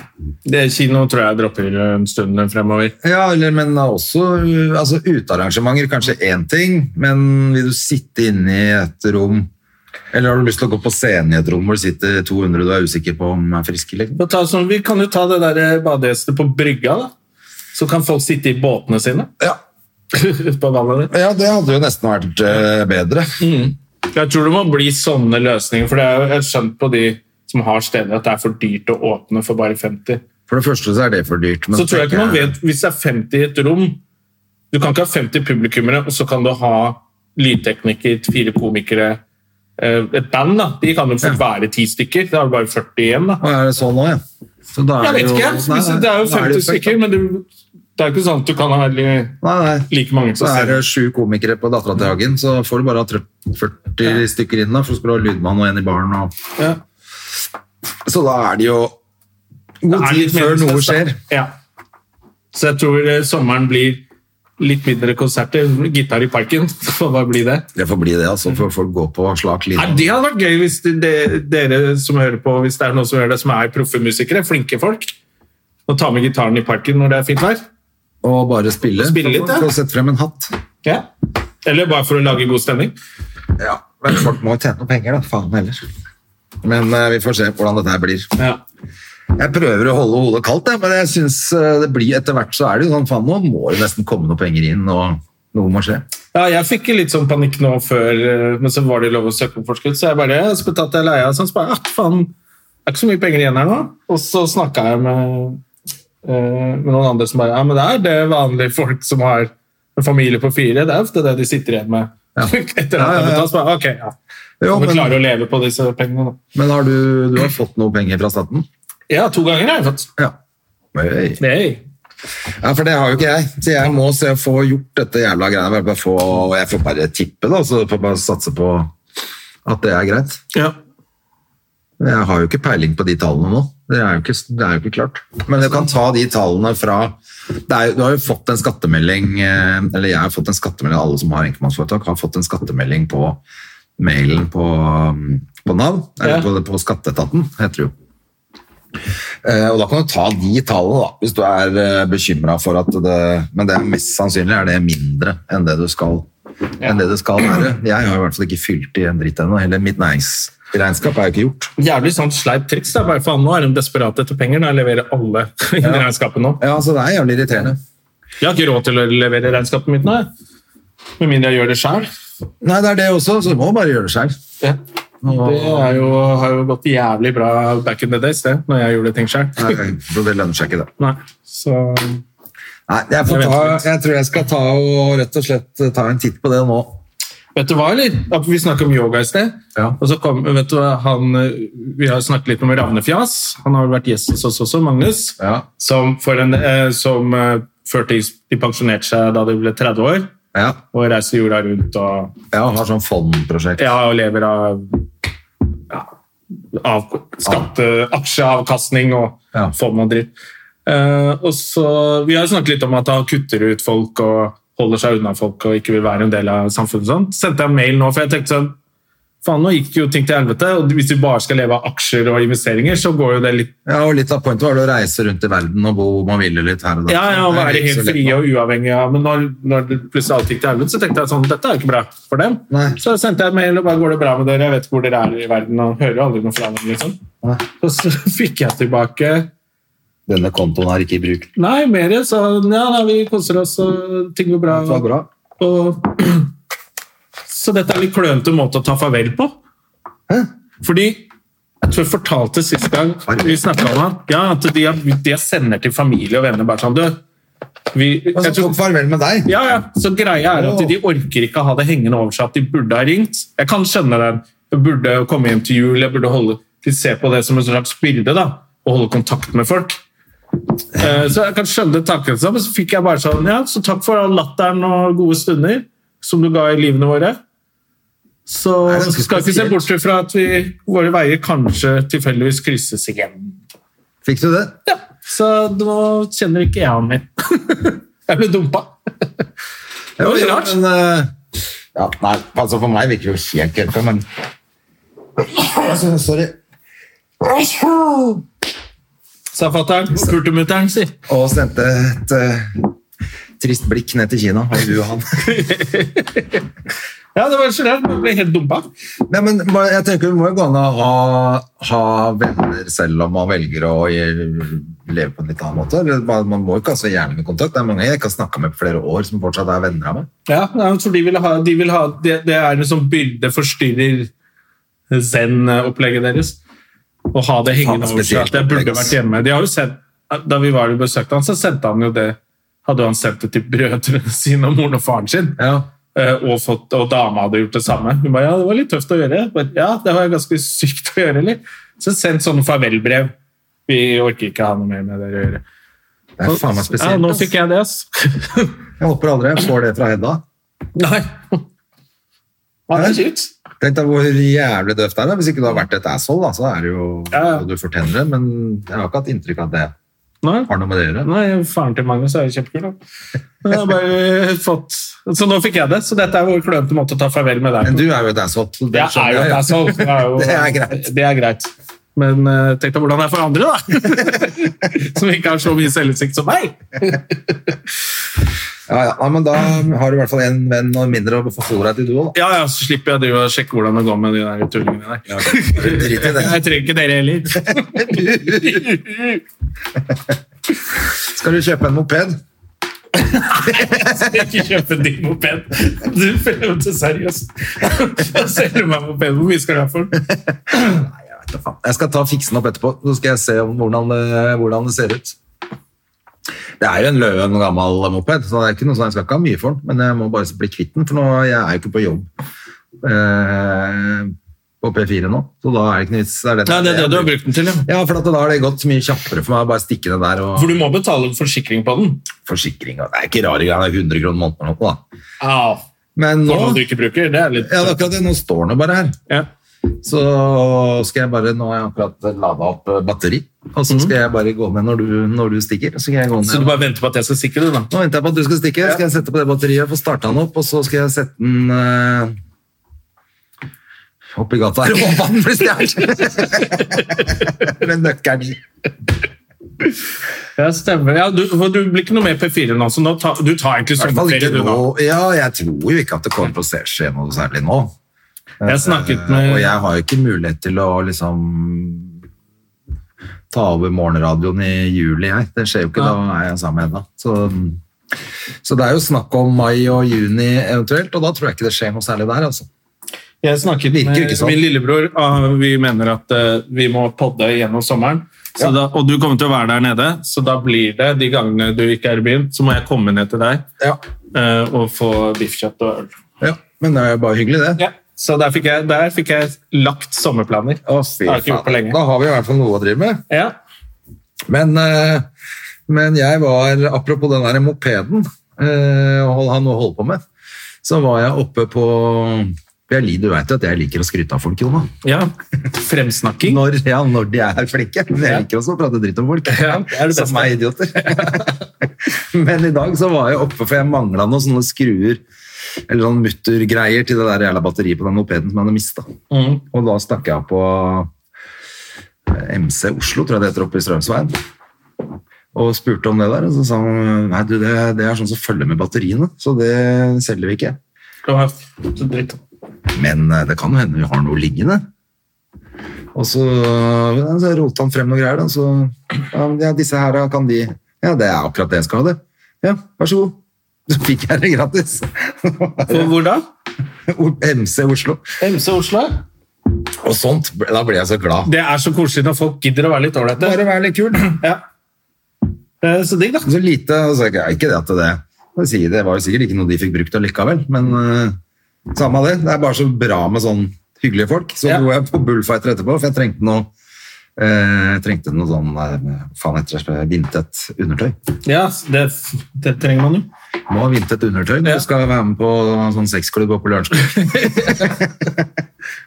Det, kino tror jeg dropper en stund fremover. Ja, eller, men også uh, altså, utearrangementer. Kanskje én ting, men vil du sitte inne i et rom Eller har du lyst til å gå på scenen i et rom hvor det sitter 200 du er usikker på om er friske? Liksom? Og ta sånn, vi kan jo ta det der eh, badehestet på brygga, da. Så kan folk sitte i båtene sine. [laughs] Ja, Ute på vannet der. Ja, det hadde jo nesten vært eh, bedre. Jeg tror det må bli sånne løsninger, for det er jo jeg har skjønt på de som har steder at det er for dyrt å åpne for bare 50. For det første så er det for dyrt. men Så tror jeg ikke man tenker vet, hvis det er 50 i et rom, du kan ikke ha 50 publikummere, og så kan du ha lydtekniker, fire komikere, eh, et band da, de kan jo fort være 10 stykker, da har du bare 40 igjen da. Å, er det sånn nå, ja? Så da er Jeg det Sånn vet jo- ikke. Nei, Hvis- nei, Det er jo da 50 fucked, stykker, men det, det er jo ikke sånn at du kan ha veldig- da. Nei, nei. like mange Så som er ser det sju komikere på Dattera til Hagen, så får du bare ha 30 40 stykker inn da, for så skal du ha lydmann og en i baren. Og... Ja. Så da er det jo god Det er litt tid før noe meningsløst, da. skjer. Ja. Så jeg tror eh, sommeren blir litt mindre konserter. Gitar i parken, [laughs] det får bare bli det. Det får bli det, altså, for folk går på slak Nei, linje. det hadde vært gøy hvis det, det, dere som hører på, hvis det er noen som hører det, som er proffe musikere, flinke folk, og tar med gitaren i parken når det er fint vær. Og bare spille. Spille litt, ja. Så sette frem en hatt. Ja. Eller bare for å lage god stemning. Ja, men folk må jo tjene noen penger, da. Faen heller. Men eh, vi får se hvordan dette her blir. Ja. Jeg prøver å holde hodet kaldt, jeg, men jeg synes eh, det blir etter hvert så er det jo sånn, faen, nå må det nesten komme noen penger inn, og noe må skje. Ja, jeg fikk litt sånn panikk nå før, eh, men så var det lov å søke om forskudd, så jeg bare spurte at jeg er leia, sånn, så bare, ah, faen, det er ikke så mye penger igjen her nå. Og så snakket jeg med, eh, med noen andre som bare, ja, men det er det vanlige folk som har en familie på fire, det er ofte det de sitter igjen med. [laughs] Etter Ja, at de ja, ja. betalt, så bare, ok, ja. Jo, Kan vi men- klare å leve på disse pengene da? Men har du, du har fått noe penger fra staten? Ja, to ganger har jeg fått. Ja. Oi. Nei. Ja, for det har jo ikke jeg. Så jeg må se å få gjort dette jævla greiene. Bare bare få, og jeg får bare tippe, da, så får jeg bare satse på at det er greit. Ja. Jeg har jo ikke peiling på de tallene nå. Det er jo ikke, det er jo ikke klart. Men du kan ta de tallene fra det er, jo- Du har jo fått en skattemelding eh, Eller jeg har fått en skattemelding, alle som har enkeltmannsforetak, har fått en skattemelding på mailen på, um, på Nav. Eller Ja. på, på Skatteetaten, heter det jo. Eh, Og da kan du ta de tallene, da, hvis du er bekymra for at det Men det er mest sannsynlig er det mindre enn det du skal, enn det det skal være. Jeg har i hvert fall ikke fylt i en dritt ennå. Hele mitt næringsregnskap er jo ikke gjort. Jævlig sånn sleip triks da, bare faen, nå er de desperate etter penger, nå leverer alle [laughs] i regnskapet nå. Ja, altså det er jævlig irriterende. Jeg har ikke råd til å levere regnskapet mitt nå. jeg. Med mindre jeg gjør det sjøl. Nei, det er det også, så du må bare gjøre det selv. Det er jo, har jo gått jævlig bra back in the days, det, når jeg gjorde ting sjøl. Nei, for det lønner seg ikke det. Nei, så Nei, jeg, får Jeg ta, venter litt. jeg tror jeg skal ta og rett og slett eh, ta en titt på det nå. Vet du hva, eller? At Vi snakket om yoga i sted. Ja. Og så kom, vet du, hva, han, eh, vi har snakket litt om Ravnefjas. Han har vel vært gjest hos oss også, Magnus. Ja. Som, for en, eh, som eh, førtids- de pensjonerte seg da de ble 30 år, Ja, og reiser jorda rundt og ja har sånn fondprosjekt. Ja, og lever av, ja, av skatte, aksjeavkastning og Ja. fond og dritt. Eh, og så, vi har jo snakket litt om at han kutter ut folk og holder seg unna folk og ikke vil være en del av samfunnet. og Sånn. Så Sendte jeg en mail nå, for jeg tenkte sånn Faen, nå gikk jo ting til helvete. Og hvis vi bare skal leve av aksjer og investeringer, så går jo det litt Ja, og litt av pointet var det å reise rundt i verden og bo hvor man ville litt her og der. Ja, ja, å Det er være ikke så helt lett frie nå. og uavhengige. av- Men når, når det plutselig alt gikk til helvete, så tenkte jeg sånn Dette er jo ikke bra for dem. Nei. Så sendte jeg mail og bare Går det bra med dere? Jeg vet hvor dere er i verden og hører jo aldri noe fra dem. liksom. Nei. Og så [laughs] fikk jeg tilbake Denne kontoen er ikke i bruk. Nei, mer så ja, nei, vi koser oss, og ting går bra. Det var bra. Og, [clears throat] så dette er litt klønete måte å ta farvel på. Fordi jeg tror jeg fortalte sist gang vi snakket om han, ja, at de, har- de sender til familie og venner bare sånn Du, vi, Og Altså, så jeg tror tok farvel med deg. ja, ja. Så greia er at de orker ikke ha det hengende over seg at de burde ha ringt. Jeg kan skjønne den. Jeg burde komme hjem til jul, jeg burde holde, de ser på det som et slags bilde da, og holde kontakt med folk. Eh, Så jeg kan skjønne tanken sånn, men så fikk jeg bare sånn, ja, så takk for all latteren og gode stunder som du ga i livene våre. Så Det er ganske skal ikke se spesielt. bort fra at vi, våre veier kanskje tilfeldigvis krysses igjen. Fikk du det? Ja, så nå kjenner ikke jeg han mer. [laughs] jeg ble dumpa. Det var litt rart. Men, eh, ja, nei, altså for meg virker det jo helt kørka, men Altså, Sorry. sa fatter'n. Spurte mutter'n, si. og sendte et eh, trist blikk ned til Kina. Og du og han. Ja, det var så rart. Man ble helt dumpa. [laughs] Nei, men bare- jeg tenker Det må jo gå an å ha, ha venner selv om man velger å gjøre- leve på en litt annen måte. Eller bare- Man må jo ikke ha så gjerne med kontakt. Det er mange jeg ikke har snakka med på flere år, som fortsatt er venner av meg. Ja, nei, men for de vil ha, de vil ha det, det er en sånn byrde forstyrrer zen-opplegget deres. Å ha det hengende Faen, over seg. spesielt At jeg burde opplegg, ass. vært hjemme. De har jo sendt, da vi var og besøkte han, så sendte han jo det Hadde han sendt det til brødrene sine og moren og faren sin. Ja. Eh, Og, fått, og dama hadde gjort det samme. Hun ba, ja, det var litt tøft å gjøre. Jeg ba, ja, det var ganske sykt å gjøre, eller? Så sendt sånne farvelbrev Vi orker ikke ha noe mer med dere å gjøre. Det er faen meg Ja, spesielt. nå ass. fikk jeg det, ass. Jeg håper aldri jeg får det fra Hedda. [laughs] Nei. Ja, det er kjipt. Tenk deg hvor jævlig døvt det er. da. Hvis ikke du har vært et asshole, da, så er det jo Ja. og du fortjener det, men jeg har ikke hatt inntrykk av at det Nei. har noe med det å gjøre. Nei, faren til Magnus er jo kjempekul. Da. Men jeg har bare fått... Så nå fikk jeg det, så dette er vår klønete måte å ta farvel med deg. Men på. du er jo et asshole. så det Jeg skjønner er jeg, jo et ja. asshole. Jeg er [laughs] jo- Det er greit. Det er greit. Men eh, tenk deg hvordan det er for andre, da! [laughs] Som ikke har så mye selvinnsikt som meg! Ja, ja. Nei, men da har du i hvert fall en venn og mindre å forholde deg til du òg, da. Ja, ja, så slipper jeg å drive og sjekke hvordan det går med de der tullingene [laughs] der. Drit i det. Jeg trenger ikke dere heller. Skal du kjøpe en moped? ikke kjøpe din moped. Du prøvde seriøst. Da selger du meg moped. Hvor mye skal du ha for den? Jeg skal ta og fikse den opp etterpå, så skal jeg se om hvordan det, hvordan det ser ut. Det er jo en løen gammel moped, så det er ikke noe sånn, jeg skal ikke ha mye for den, men jeg må bare bli kvitt den, for nå, jeg er jo ikke på jobb eh, på P4 nå, så da er det ikke noe vits. er det- Nei, det er det du har brukt den til, ja. Ja, for at da har det gått mye kjappere for meg å bare stikke den der og For du må betale forsikring på den. forsikring. og Det er ikke rare greier, det er 100 kroner i måneden eller noe, da. Ja, Men nå, for noe du ikke bruker. Det er litt ja, det er akkurat det, nå står den jo bare her. ja. Så skal jeg bare, nå har jeg akkurat lada opp eh, batteri, og så skal jeg bare gå med når du, når du stikker. Så, skal jeg gå ned. Mhm. Så du bare venter på at jeg skal sikre det, da? Nå venter jeg på at du skal stikke, skal jeg sette på det batteriet, få starta den opp, og så skal jeg sette den eh, opp i gata her og [laughs] håpe at den blir stjålet. Med nøkkelen i. Ja, stemmer. Ja, du, for du blir ikke noe med P4 nå, så nå ta, du tar I egentlig hvert fall sommerferie, ikke du nå. nå. Ja, jeg tror jo ikke at det kommer til å se- skje noe særlig nå. Jeg snakket Eh, Og med jeg har jo ikke mulighet til å liksom ta over morgenradioen i juli, jeg. Det skjer jo ikke, da er jeg sammen med henne. Så, så det er jo snakk om mai og juni eventuelt, og da tror jeg ikke det skjer noe særlig der, altså. Jeg snakket Virker med ikke sånn. min lillebror, og vi mener at eh, vi må podde gjennom sommeren. Så Ja. da, og du kommer til å være der nede, så da blir det de gangene du ikke er i byen, så må jeg komme ned til deg Ja. eh, og få biffkjøtt og øl. ja. Men det er jo bare hyggelig, det. Så der fikk, jeg, der fikk jeg lagt sommerplaner. Å, fy Det har jeg ikke gjort på faen. lenge. Da har vi i hvert fall noe å drive med. Ja. Men, eh, men jeg var, apropos den der mopeden, eh, og hold- han nå holder på med, så var jeg oppe på for jeg, Du vet jo at jeg liker å skryte av folk, Jona. ja. [laughs] Fremsnakking. Når, ja, når de er flinke. Men jeg liker også å prate dritt om folk. [laughs] Ja, det er det beste. som er idioter. [laughs] Men i dag så var jeg oppe, for jeg mangla noen sånne skruer eller sånne muttergreier til det der jævla batteriet på den mopeden som jeg hadde mista. Mm. Og da stakk jeg av på MC Oslo, tror jeg det heter, oppe i Strømsveien. Og spurte om det der, og så sa han nei, du, det, det er sånn som følger med batteriene, så det selger vi ikke. Kom her. Så dritt. Men eh, det kan jo hende vi har noe liggende. Og så, ja, så rotet han frem noen greier, da. Så ja, men ja, disse her, da, kan de Ja, det er akkurat det jeg skal ha, det. Ja, vær så god. Så fikk jeg det gratis. [laughs] For hvor da? MC Oslo. MC Oslo? Og sånt. ble- Da ble jeg så glad. Det er så koselig når folk gidder å være litt ålreite. Bare vær litt kul. Ja. Eh, Så digg, da. Så lite, og så er ikke- ikke det at det jeg sier, Det var jo sikkert ikke noe de fikk brukt allikevel, men eh, samme av det. Det er bare så bra med sånn hyggelige folk. Så Ja. dro jeg på bullfighter etterpå, for jeg trengte noe eh, trengte noe sånn eh, faen heter det, vindtett undertøy. Ja, det, det trenger man jo. Må ha vindtett undertøy når Ja. du skal være med på en sånn sexklubb oppe på [laughs] Lørenskog.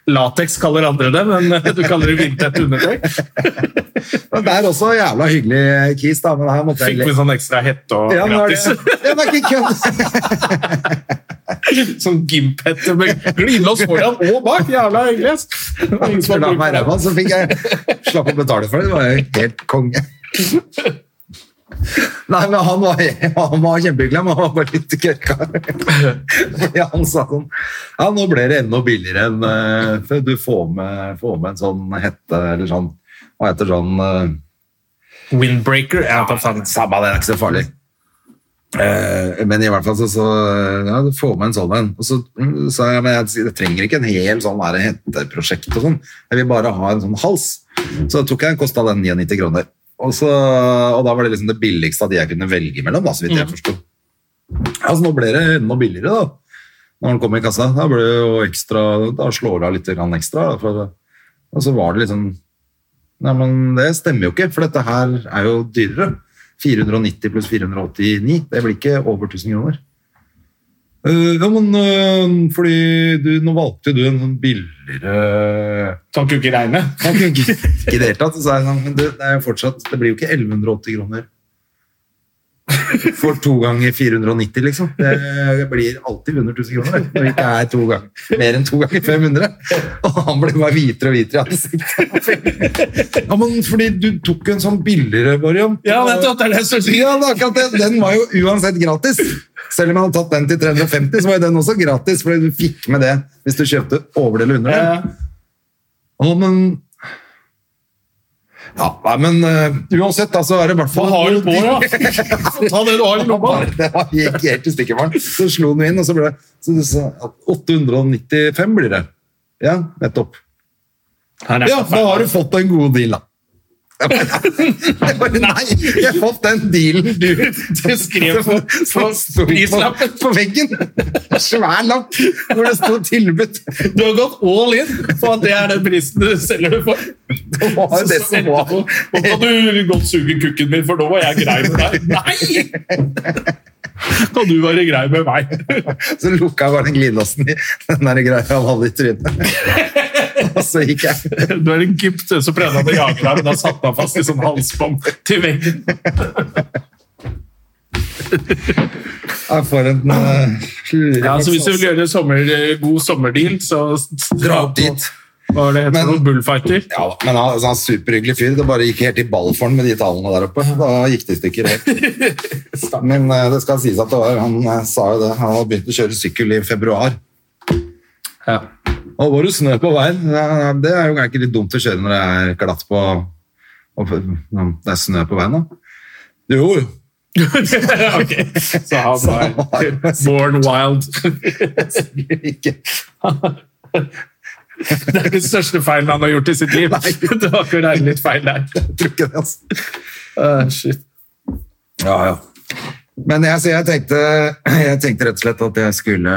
Latex kaller andre det, men [laughs] du kaller det vindtett [laughs] undertøy. Men Det er også jævla hyggelig kis, da, men her måtte jeg Fikk le. vi sånn ekstra hette og Ja, nå er det, gratis. ja, det er ikke kødd! [laughs] [laughs] Sånn gimphette med glidelås foran og bak. Jævla hyggelig. ass. Ingen som har La brukt meg ræva, det. så fikk jeg slapp å betale for det. Det var jo helt konge. Nei, men han var, han var kjempehyggelig, men han var bare litt kørka. Fordi han sa sånn Ja, nå ble det enda billigere enn eh, før du får med, får med en sånn hette eller sånn Hva heter sånn eh, Windbreaker. Ja, ta faen. Samme det, det er ikke så farlig. Eh, men i hvert fall så, så ja, du får med en sånn en. Og så mm, sa jeg men jeg, jeg trenger ikke en hel sånn der henteprosjekt og sånn. Jeg vil bare ha en sånn hals. Så tok jeg en kosta den 99 kroner. Og, så, og da var det liksom det billigste av de jeg kunne velge mellom, da, så vidt jeg forsto. Altså, nå ble det enda billigere, da. Når den kom i kassa. Da ble det jo ekstra Da slår det av litt grann ekstra. Da, for, og så var det liksom Nei, men det stemmer jo ikke, for dette her er jo dyrere. 490 pluss 489, det blir ikke over 1000 kroner. Eh, ja, men eh, fordi du, nå valgte jo du en sånn billigere Kan ikke regne. han kunne ikke, ikke i det hele tatt. Så sa jeg sånn, men det, det er jo fortsatt, det blir jo ikke 1180 kroner. For to ganger 490, liksom. Det, det blir alltid under 1000 kroner det, når det ikke er to ganger, mer enn to ganger 500. Og han ble bare hvitere og hvitere i ansiktet. Ja, men fordi du tok en sånn billigere variant. Ja, nettopp, det er det jeg skulle si. Ja, det er akkurat det. Den var jo uansett gratis. Selv om jeg hadde tatt den til 350, så var jo den også gratis, fordi du fikk med det hvis du kjøpte over det eller under det. Eh, Å, men Ja, nei, men eh, uansett, da, så er det i hvert Hva fall har du på, [laughs] ja? Ta det du har i lomma. Det var helt, helt i stykkevaren. Så slo den inn, og så ble det så du sa at 895 blir det. Ja, nettopp. Her er Ja, da har du fått en god deal, da. Jeg bare, nei, [laughs] jeg har fått den dealen du Du skrev på som sto på, prislappen. på veggen. Svær lapp hvor det sto tilbud. Du har gått all in på at det er den prisen du selger det for. Det var jo det som var Nå kan du godt suge kukken min, for nå var jeg grei med deg. Nei! Kan du være grei med meg? [laughs] Så lukka jeg bare den glidelåsen i den der greia han hadde i trynet. Og så gikk jeg. Du er en gipt, så prøvde han å jage deg, men da satte han fast i sånn halsbånd til veggen. Jeg får en eh, Ja, så Hvis du vil gjøre en sommer, eh, god sommerdeal, så Dra opp dit. Hva er det heter Men- noe bullfighter? Ja, da, men han altså, han er superhyggelig fyr. Det bare gikk helt i ball for han med de tallene der oppe. Da gikk det i stykker helt. [laughs] Men eh, det skal sies at det var, han eh, sa jo det. Han hadde begynt å kjøre sykkel i februar. Ja. Og var det snø på veien? Ja, Det er jo ikke litt dumt å kjøre når det er glatt på og det er snø på veien, da. Jo, jo. [laughs] [laughs] ok, Så han var [laughs] born wild. Ikke. Det er den største feilen han har gjort i sitt liv. [laughs] Det var ikke å regne litt feil der. Jeg tror ikke det, altså. Ah, shit. Ja, ja. Men jeg, så jeg, tenkte, jeg tenkte rett og slett at jeg skulle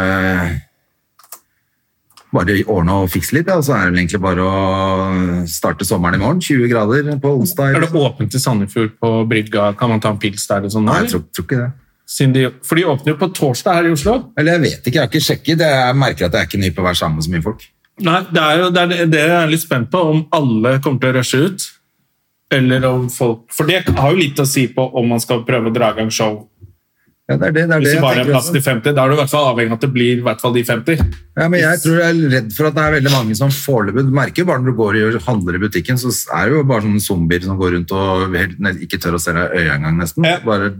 bare ordne og fikse litt, ja. og så er det vel egentlig bare å starte sommeren i morgen. 20 grader på onsdag. Er det åpent i Sandefjord på brygga? Kan man ta en pils der? og sånn? Nei, eller? jeg tror, tror ikke det. Siden de, for de åpner jo på torsdag her i Oslo. Eller jeg vet ikke, jeg har ikke sjekket. Jeg merker at jeg er ikke ny på å være sammen med så mye folk. Nei, Det er jo det er, det jeg er litt spent på, om alle kommer til å rushe ut. Eller om folk, For det har jo litt å si på om man skal prøve å dra i gang show. Ja, det er det, det er det Hvis det jeg bare er tenker altså. plass også. til 50, da er du i hvert fall avhengig av at det blir i hvert fall de 50. Ja, men jeg tror jeg er redd for at det er veldig mange som foreløpig Du merker jo bare når du går og handler i butikken, så er det jo bare sånne zombier som går rundt og helt, ne- ikke tør å se deg i øya engang, nesten. Ja. Bare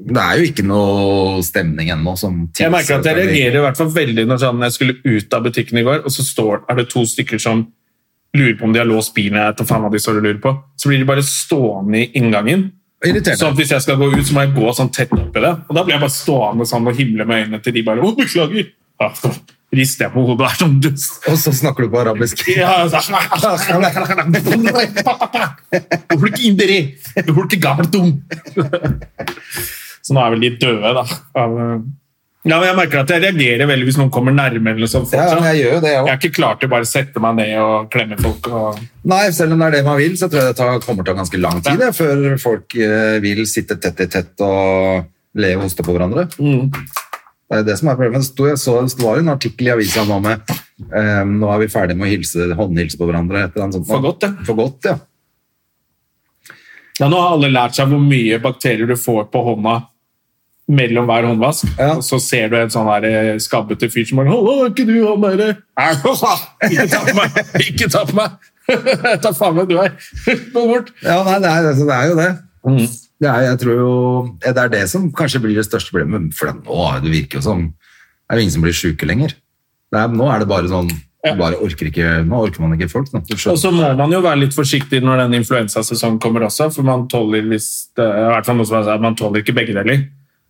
Det er jo ikke noe stemning ennå som Jeg merker at jeg tilsier reagerer i hvert fall veldig når sånn, jeg skulle ut av butikken i går, og så står, er det to stykker som lurer på om de har låst bilen. Jeg vet ikke faen hva de står og lurer på. Så blir de bare stående i inngangen. Så Irriterende. hvis jeg skal gå ut, så må jeg gå sånn tett oppi det. Og da blir jeg bare stående sånn og himle med øynene til de bare Å, beklager! Ja, så rister jeg på hodet og er sånn dust. Og så snakker du på arabisk. Ja, altså. så- Hulk inderi! Hulk gabeltum! Så nå er vel de døde, da. Av, eh, ja, men jeg merker at jeg reagerer veldig hvis noen kommer nærme. eller sånn. Ja, fortsatt. men jeg gjør jo det, jeg Jeg òg. er ikke klar til å bare sette meg ned og klemme folk. og... Nei, selv om det er det man vil, så tror jeg det tar, kommer til å ta ganske lang tid jeg, før folk eh, vil sitte tett i tett og le og hoste på hverandre. Det er det som er problemet. Det, sto, jeg så, det var en artikkel i avisa nå med eh, Nå er vi ferdige med å hilse, håndhilse på hverandre. Et eller annet sånt. For godt, ja. For godt, ja. Ja, nå har alle lært seg hvor mye bakterier du får på hånda mellom hver håndvask. Ja. Og så ser du en sånn her eh, skabbete fyr som bare 'Hallo, er ikke du han derre [laughs] Ikke ta på meg! Ikke ta på meg! ta faen meg [laughs] du her! Gå bort! ja nei, det, er, altså, det er jo det. Mm. Det, er, jeg tror jo, ja, det er det som kanskje blir det største problemet. For det, nå det virker jo som Det er jo ingen som blir sjuke lenger. Det er, nå er det bare sånn Ja. bare orker ikke, Nå orker man ikke folk. Nå. Du skjønner. Og så må man jo være litt forsiktig når den influensasesongen kommer også, for man tåler hvis det, i hvert fall noe som er sagt, man tåler ikke begge deler.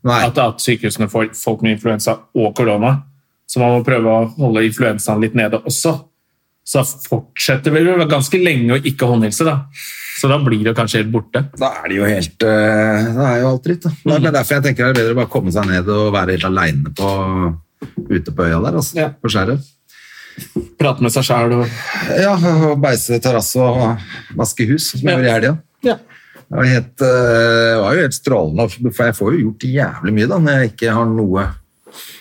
Nei. At, at sykehusene får folk med influensa og korona. Så man må prøve å holde influensaen litt nede også. Så da fortsetter vi vel ganske lenge å ikke håndhilse, da. Så da blir det kanskje helt borte. Da er det jo helt eh, Det er jo alt dritt, da. Mm. Det er derfor jeg tenker det er bedre å bare komme seg ned og være helt aleine ute på øya der, altså. Ja. På skjæret. prate med seg sjæl og Ja, og beise terrasse og vaske hus, som jeg gjorde i helga. Ja. Det var, helt, eh, det var jo helt strålende, for jeg får jo gjort jævlig mye da, når jeg ikke har noe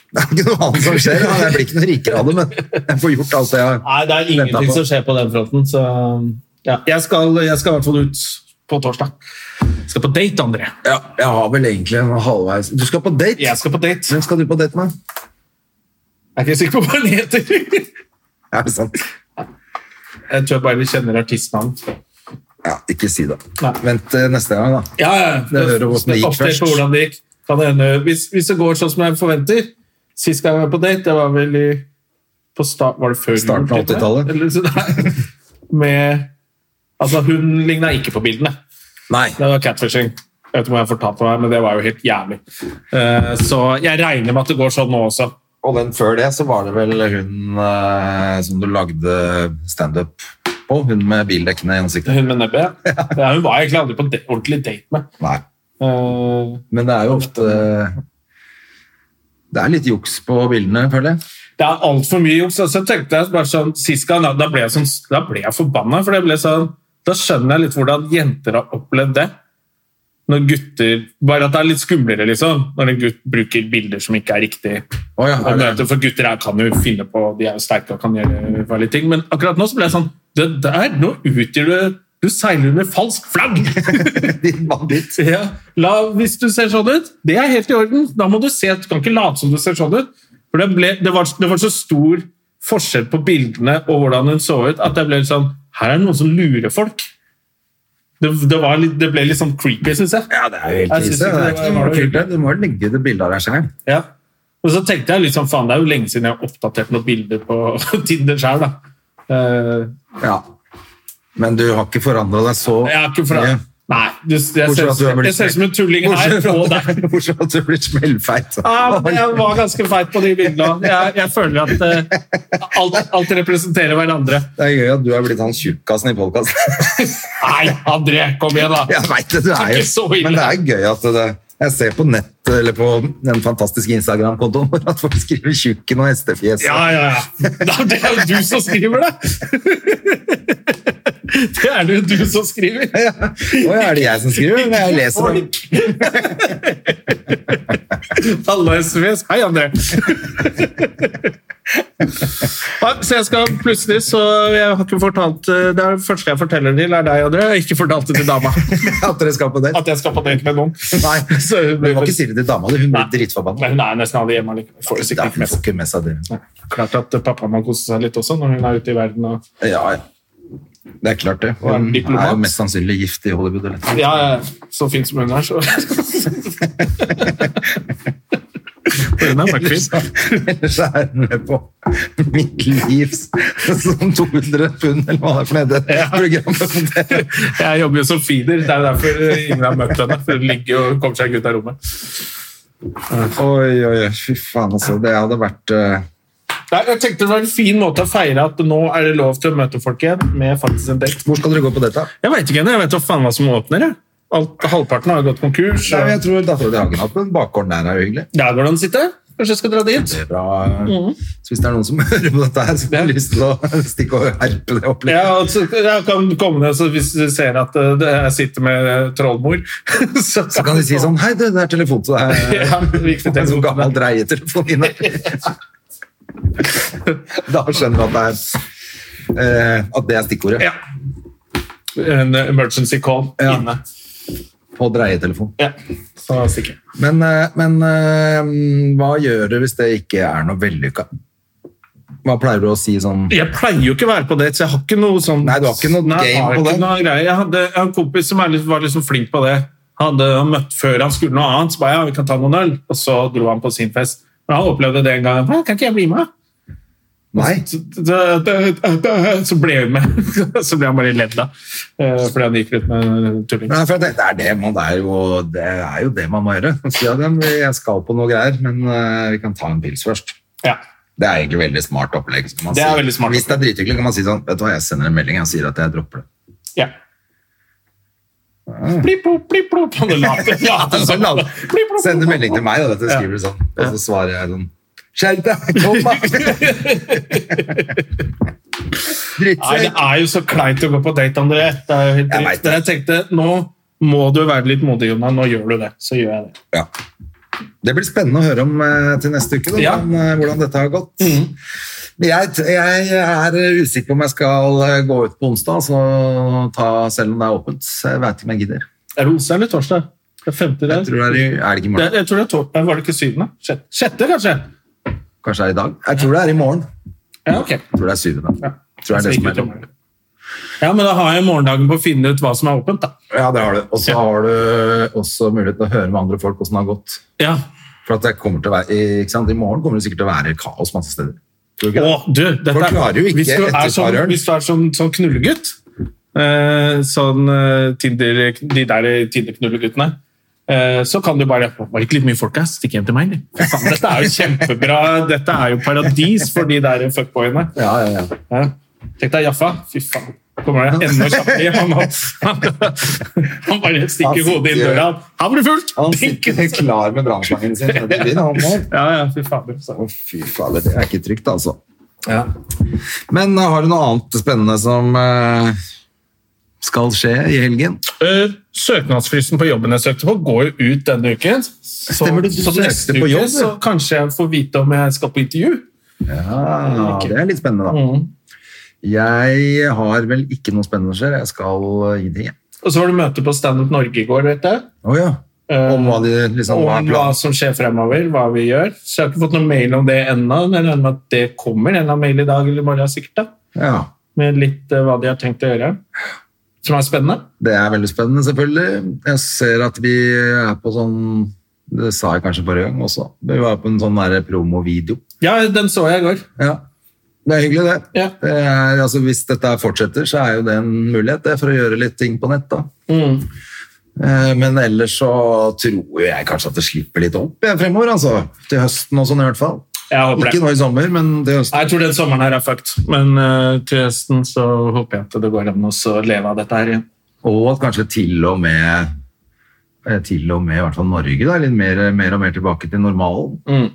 Det er ikke noe annet som skjer. da. Jeg blir ikke noe rikere av det, men jeg får gjort alt det jeg Nei, det er ingenting Ventet på. som skjer på den fronten, så ja. jeg, skal, jeg skal i hvert fall ut på torsdag. Jeg skal på date, André. ja, Jeg har vel egentlig en halvveis Du skal på date? Jeg skal på date. Hvem skal du på date med? Jeg er ikke sikker på hva den heter. Er det sant? Jeg tror jeg bare vi kjenner artistnavn. Ja, ikke si det. Nei. Vent til neste gang, da. Ja, ja. Det hører hvordan det gikk Oppdatert først. på hvordan det gikk. Kan det hende, hvis, hvis det går sånn som jeg forventer Sist gang jeg var på date, det var vel i på sta- Var det før jul, Starten av til 80-tallet. og med? Eller så- [laughs] Nei. Med Altså, hun ligna ikke på bildene. Nei. Det var catfishing. Jeg vet ikke om jeg har fortalt meg, men det var jo helt jævlig. Eh, så jeg regner med at det går sånn nå også. Og den før det, så var det vel hun eh, som du lagde standup på. Hun med bildekkene i ansiktet. Hun med [laughs] nebbet. Ja, hun var jeg egentlig aldri på de ordentlig date med. Nei. Eh, Men det er jo ofte Det er litt juks på bildene, føler jeg. det er altfor mye juks. Altså, jeg tenkte jeg bare sånn, sist gang, da, da, ble jeg sånn, da ble jeg forbanna, for det ble sånn, da skjønner jeg litt hvordan jenter har opplevd det. Når gutter, Bare at det er litt skumlere, liksom. Når en gutt bruker bilder som ikke er riktig. Å ja, Og er det- møter, for gutter her kan jo finne på De er jo sterke og kan gjøre farlige ting. Men akkurat nå så ble jeg sånn Det der, nå utgjør du Du seiler under falskt flagg! [laughs] Din banditt. Ja. La, hvis du ser sånn ut, det er helt i orden. Da må du se, du kan ikke late som du ser sånn ut. For det, ble, det, var, det var så stor forskjell på bildene og hvordan hun så ut, at jeg ble litt sånn Her er det noen som lurer folk. Det, det, var litt, det ble litt sånn creepy, syns jeg. Ja, det er jo helt Jeg synes krise. ikke Det er det ikke var- noe kult. det. Du må jo legge det bildet av deg sjøl. Ja. Og så tenkte jeg litt sånn, faen, det er jo lenge siden jeg har oppdatert noen bilder på [laughs] Tinder sjøl, da. Eh, Ja. Men du har ikke forandra deg så jeg er ikke fra mye. Nei, du, jeg ser Bortsett fra at du er blitt jeg ser ut som en tulling Bortsett her fra og at- [laughs] der. bortsett fra at du blir smellfeit. Ja, men jeg var ganske feit på de bildene. Jeg, jeg føler at eh, alt, alt representerer hverandre. Det er gøy at du er blitt han tjukkasen i podkasten. Nei, André, kom igjen, da! [laughs] Jeg vet det, du er ikke så jo ille. Men det er gøy at det Jeg ser på nett, eller på den fantastiske Instagram-kontoen vår, at folk skriver 'tjukken' og 'hestefjes'. Ja, ja, ja. Da- Det er jo du som skriver det! Det er det jo du som skriver. Ja. Å ja, er det jeg som skriver? Men jeg leser det. Alle SMS. Hei, André! Ja, så jeg skal plutselig, så jeg har ikke fortalt eh, Det er det første jeg forteller til, er deg, André. Jeg har ikke fortalt det til dama. At dere skal på date? At jeg skal på date med noen. Nei, Så hun men blir du må ikke si det til dama. di, Hun blir Nei. dritforbanna. Men hun er nesten aldri hjemme likevel. Får Da jo sikkert ikke med får seg. ikke med seg det. Klart at pappa må kose seg litt også når hun er ute i verden. Og... Ja, ja. Det er klart, det. Og en Hun er diplomat. jo mest sannsynlig gift i Hollywood. Eller? noe. Ja, ja, så fin som hun er, så [laughs] Hun er bare Ellers fin. [laughs] ellers er hun med på Mitt livs sånn 200 pund, eller hva det er for noe. det Programmet på det. Jeg jobber jo som feeder, det er jo derfor ingen har møtt henne. For hun ligger og kommer seg ikke ut av rommet. Oi, oi, oi, fy faen, altså. Det hadde vært eh, Nei, jeg tenkte det var en fin måte å feire at nå er det lov til å møte folk igjen med faktisk en date. Hvor skal dere gå på dette? Jeg veit ikke ennå, jeg vet da faen hva som åpner. Jeg. Alt, halvparten har jo gått konkurs. Nei, men Og... jeg tror dattera til Hagenappen, bakgården der er jo hyggelig. Der går det an å sitte. Kanskje jeg skal dra dit. Det er bra. Så hvis det er noen som [laughs] hører på dette her, som har lyst til å stikke og herpe det opp litt [laughs] Ja, og så jeg kan komme ned så hvis du ser at eh, det- jeg sitter med eh, trollmor. [laughs] Så, Så kan de si sånn Hei, du, det er telefon til deg. [laughs] Ja, [laughs] En viktig sånn telefon. gammel dreietelefon inne. [laughs] Da skjønner du at det er eh, At det er stikkordet. Ja. En emergency call Ja. inne. På dreietelefon. Ja, så sikker. Men, eh, men eh, hva gjør du hvis det ikke er noe vellykka? Hva pleier du å si sånn Jeg pleier jo ikke å være på date, så jeg har ikke noe sånn Nei, du har ikke noe Nei, jeg game har på ikke det. noe greie. Jeg hadde jeg har en kompis som er litt, var liksom flink på det. Han hadde han møtt før han skulle noe annet, så bare ja, vi kan ta noen øl. Og så dro han på sin fest. Men han opplevde det en gang. «Hæ, Kan ikke jeg bli med? Nei? Så, da- da- da- da- så ble hun med. [laughs] Så ble han bare ledd av eh, fordi han gikk rundt med en tulling. Nei, for det, det, er det, man, det, er jo, det er jo det man må gjøre. Si at ja, men jeg skal på noe greier, men eh, vi kan ta en pils først. Ja. Det er egentlig veldig smart opplegg. kan man Det er si. veldig smart. Hvis det er drithyggelig, kan man si sånn Vet du hva, jeg sender en melding og sier at jeg dropper det. ja. Ah. Plipp-plopp, plipp-plopp. [laughs] Han later- later Så som- la- Plipp-plopp. Send en melding til meg, da, vet du. Skriver du sånn. Og så svarer jeg sånn Skjerp deg! Kom, [laughs] da! Nei, det Drittsekk! er jo så kleint å gå på date, André. Det er jo helt Jeg dritt. vet det. Jeg tenkte, nå må du være litt modig, Jonah. Nå gjør du det. Så gjør jeg det. Ja. Det blir spennende å høre om eh, til neste uke, da, Ja. Mm. hvordan, eh, hvordan dette har gått. Men Jeg, t- jeg er eh, usikker på om jeg skal eh, gå ut på onsdag, så ta, selv om det er åpent. så Jeg vet ikke om jeg gidder. Er det onsdag eller torsdag? Det er femte i Jeg dag. tror det er, i- er det ikke i Det, morgen? jeg tror det er torsdag. Var det ikke syvende? Sjette, sjette kanskje? Kanskje det er i dag? Jeg tror det er i morgen. Ja, ok. Jeg tror det er syvende. Ja. Jeg tror det er det som er lov. Ja, men da har jeg morgendagen på å finne ut hva som er åpent, da. Ja, det har du. Og så Ja. har du også mulighet til å høre med andre folk hvordan det har gått. Ja. For at det kommer til å være, ikke sant? I morgen kommer det sikkert til å være kaos masse steder. Tror du ikke det? Å, du, dette, Folk klarer jo ikke hvis du er som, etterpareren. hvis du er som, som knullegutt, eh, sånn eh, Tinder, de der Tinder-knulleguttene, eh, så kan du bare «Å, Var det ikke litt mye folk her? Stikk hjem til meg, eller? Fy faen, Dette er jo kjempebra. Dette er jo paradis for de der fuckboyene. Ja, ja, ja. Ja. Tenk deg Jaffa. Fy faen. Kommer det enda kjappere hjem? Han, han, han bare Han stikker hodet inn sitter- døra. Her blir det fullt! Han Dink! sitter klar med brannslangen sin. Ja, det blir han nå. [laughs] Ja, ja, fy fader. Å, fy fader, det er ikke trygt, altså. Ja. Men eh, har du noe annet spennende som eh, skal skje i helgen? Eh, Søknadsfristen på jobben jeg søkte på, går jo ut denne uken. Så, Stemmer det, du så søkte neste på uke jobb, så ja. kanskje jeg får vite om jeg skal på intervju. Ja, det er litt spennende, da. Mm. Jeg har vel ikke noe spennende som skjer. Jeg skal eh, i det igjen. Og så var det møte på Stand Up Norge i går. vet jeg. Å ja. Eh, Om hva de liksom hva er Om hva planen. som skjer fremover, hva vi gjør. Så jeg har ikke fått noen mail om det ennå, men jeg regner med at det kommer en eller annen mail i dag eller i morgen. sikkert da. Ja. Med litt eh, hva de har tenkt å gjøre, som er spennende. Det er veldig spennende, selvfølgelig. Jeg ser at vi er på sånn Det sa jeg kanskje forrige gang også. Vi var på en sånn der promovideo. Ja, den så jeg i går. Ja. Det er hyggelig, det. Ja. det er, altså, hvis dette her fortsetter, så er jo det en mulighet det, for å gjøre litt ting på nett. da. Mm. Eh, Men ellers så tror jeg kanskje at det slipper litt opp jeg, fremover. altså. Til høsten og sånn, i hvert fall. Jeg håper Ikke det. nå i sommer, men til høsten. Nei, Jeg tror den sommeren her er fucked, men eh, til høsten så håper jeg at det går an å så leve av dette her igjen. Og at kanskje til og med eh, til og med i hvert fall Norge da, er litt mer, mer og mer tilbake til normalen. Mm.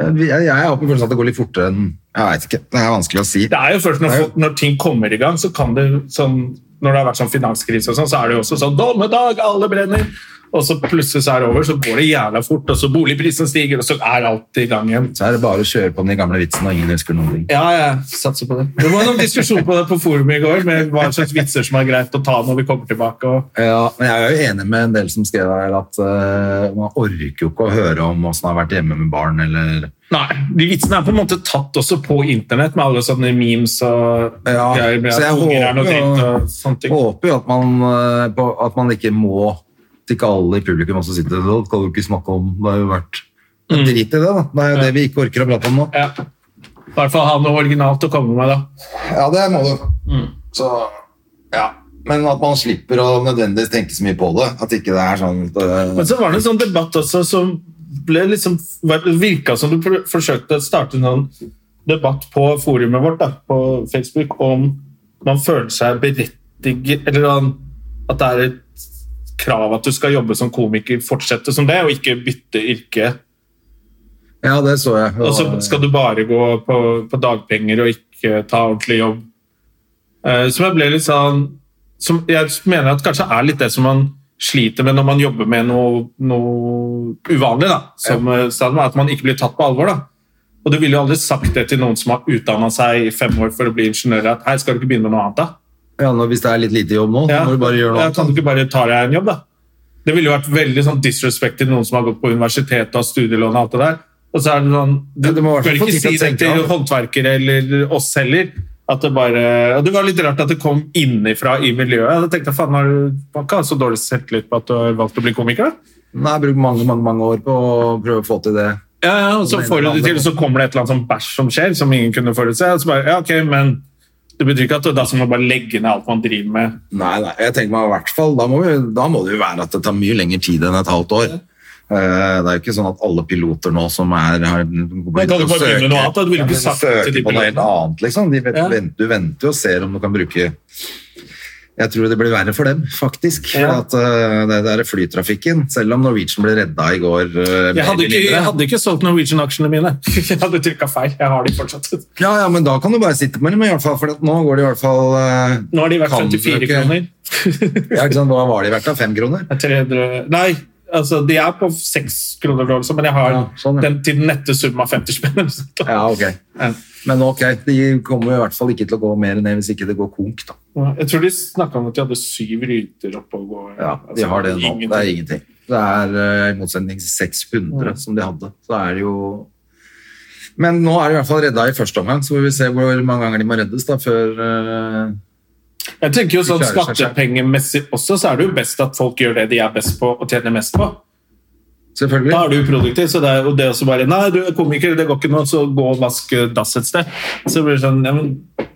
Jeg, jeg, jeg har på følelsen at det går litt fortere enn Jeg vet ikke. Det er vanskelig å si. Det er jo først når, Det er jo- folk- når ting kommer i gang, så kan det sånn Når det har vært sånn finanskrise og sånn, så er det jo også sånn Dommedag, alle brenner! Og så plutselig så er det over, så går det jævla fort, og så boligprisen stiger, og så er alt i gang igjen. Så er det bare å kjøre på den gamle vitsen, og ingen husker noen ting. Ja, jeg satser på det. Det var noen diskusjon på det på forumet i går, med hva slags vitser som er greit å ta når vi kommer tilbake. og Ja, men jeg er jo enig med en del som skrev her at eh, man orker jo ikke å høre om åssen det har vært hjemme med barn, eller Nei, de vitsene er på en måte tatt også på internett med alle sånne memes og Ja, greier med så jeg at unger er noe håper jo- dritt og sånne ting. Håper jo at man, eh, på, at man ikke må At ikke alle i publikum også sitter der. Det kan du ikke snakke om. Det har jo vært Men Drit i det, da. Det er jo det vi ikke orker å prate om nå. Ja. I hvert fall ha noe originalt å komme med, da. Ja, det må du. Mm. Så Ja. Men at man slipper å nødvendigvis tenke så mye på det. At ikke det er sånn at, eh, Men så var det en sånn debatt også som ble liksom Det virka som du pr- forsøkte å starte en sånn debatt på forumet vårt da, på Facebook om man føler seg berettiget Eller sånn at det er et krav at du skal jobbe som komiker, fortsette som det, og ikke bytte yrke. Ja, det så jeg. Og så skal du bare gå på, på dagpenger og ikke ta ordentlig jobb. Eh, Som jeg ble litt sånn Som jeg mener at kanskje er litt det som man sliter med når man jobber med noe, noe uvanlig, da. Som eh, Stan var, at man ikke blir tatt på alvor, da. Og du ville jo aldri sagt det til noen som har utdanna seg i fem år for å bli ingeniør, at hei, skal du ikke begynne med noe annet, da? ja, nå, Hvis det er litt lite jobb nå, så Ja. må du bare gjøre noe Ja, annet. kan du ikke bare ta deg en jobb, da? Det ville jo vært veldig sånn disrespect til noen som har gått på universitetet og har studielån og alt det der. Og så er det sånn Du Ja, du må i hvert fall bør få tid ikke til si å det tenke, til ja. håndverkere eller oss heller. At det bare Og det var litt rart at det kom innifra i miljøet. Da tenkte jeg faen, har du man kan ha så dårlig selvtillit på at du har valgt å bli komiker, da? Nei, bruk mange, mange, mange år på å prøve å få til det. Ja, ja, og så Men- får du det til, og så kommer det et eller annet sånn bæsj som skjer, som ingen kunne forutse. Og så bare Ja, ok, men det betyr ikke at det er da skal man bare legge ned alt man driver med. Nei, nei, jeg tenker meg i hvert fall, da må, vi, da må det jo være at det tar mye lengre tid enn et halvt år. Eh, Det er jo ikke sånn at alle piloter nå som er har, Men kan du bare begynne med noe annet? da? Du ville ikke sagt det søker til de på noe helt pilotene. annet, liksom. De vet, Ja. vent, du venter jo og ser om du kan bruke Jeg tror det blir verre for dem, faktisk. Ja. At eh, det der flytrafikken, selv om Norwegian ble redda i går eh, mer Jeg eller hadde ikke, mindre. jeg hadde ikke solgt Norwegian-aksjene mine. [laughs] Jeg hadde trykka feil. Jeg har de fortsatt. Ja, ja, men da kan du bare sitte med dem, i hvert fall, for at nå går det i hvert fall eh, Nå har de vært Kan du 54 ikke- kroner. [laughs] Ja, ikke sant? Hva var det verdt da? Fem kroner? 300 Nei, altså de er på 6 kroner, eller så, men jeg har Ja, sånn, ja. den til den nette sum av 50 spenn. [laughs] Ja, ok. Men ok, de kommer i hvert fall ikke til å gå mer ned hvis ikke det går konk, da. Jeg tror de snakka om at de hadde syv ruter oppe og gå. Ja, de Altså, har det nå. ingenting. Det er ingenting. Det er eh, i motsetning til Mm. 600 som de hadde. Så er det jo Men nå er de i hvert fall redda i første omgang, så får vi se hvor mange ganger de må reddes da før eh, Jeg tenker jo sånn De klarer seg selv. Skattepengemessig også, så er det jo best at folk gjør det de er best på og tjener mest på. Selvfølgelig. Da er du produktiv, så det er jo det også bare Nei, du er komiker, det går ikke noe, så gå og vask eh, dass et sted. Så blir det sånn ja, men,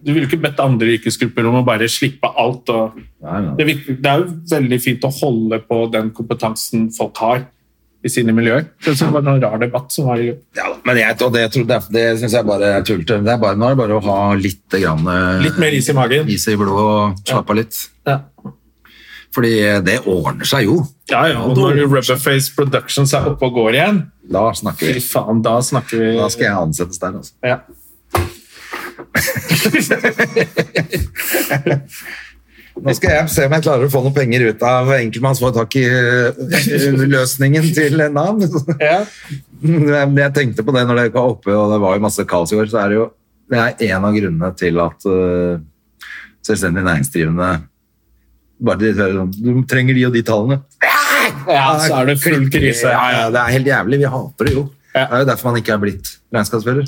Du vil jo ikke bedt andre yrkesgrupper om å bare slippe alt. Og Nei, nei. det, virker, det er jo veldig fint å holde på den kompetansen folk har i sine miljøer. Så Det var en rar debatt som var i Ja, da, men jeg, og det, tror- det, det syns jeg bare er tullete. Det er bare, nå er det bare å ha litt, grann, eh, Litt mer is i magen. is i blodet og slappe av litt. Ja, Fordi det ordner seg jo. ja. ja og når Rubberface Productions er oppe og går igjen, Da snakker fy vi. faen, da snakker vi Da skal jeg ansettes der, altså. Ja. Nå skal jeg se om jeg klarer å få noen penger ut av enkeltmannsforetak i eh, løsningen til Nav. ja. Men Jeg tenkte på det når det var oppe, og det var jo masse kaos i går, så er det jo det er en av grunnene til at eh, selvstendig næringsdrivende bare de, hører sånn, Du trenger de og de tallene. ja, så er det full krise. Ja, ja, det er helt jævlig. Vi hater det jo. Det Ja. er jo derfor man ikke er blitt regnskapsfører.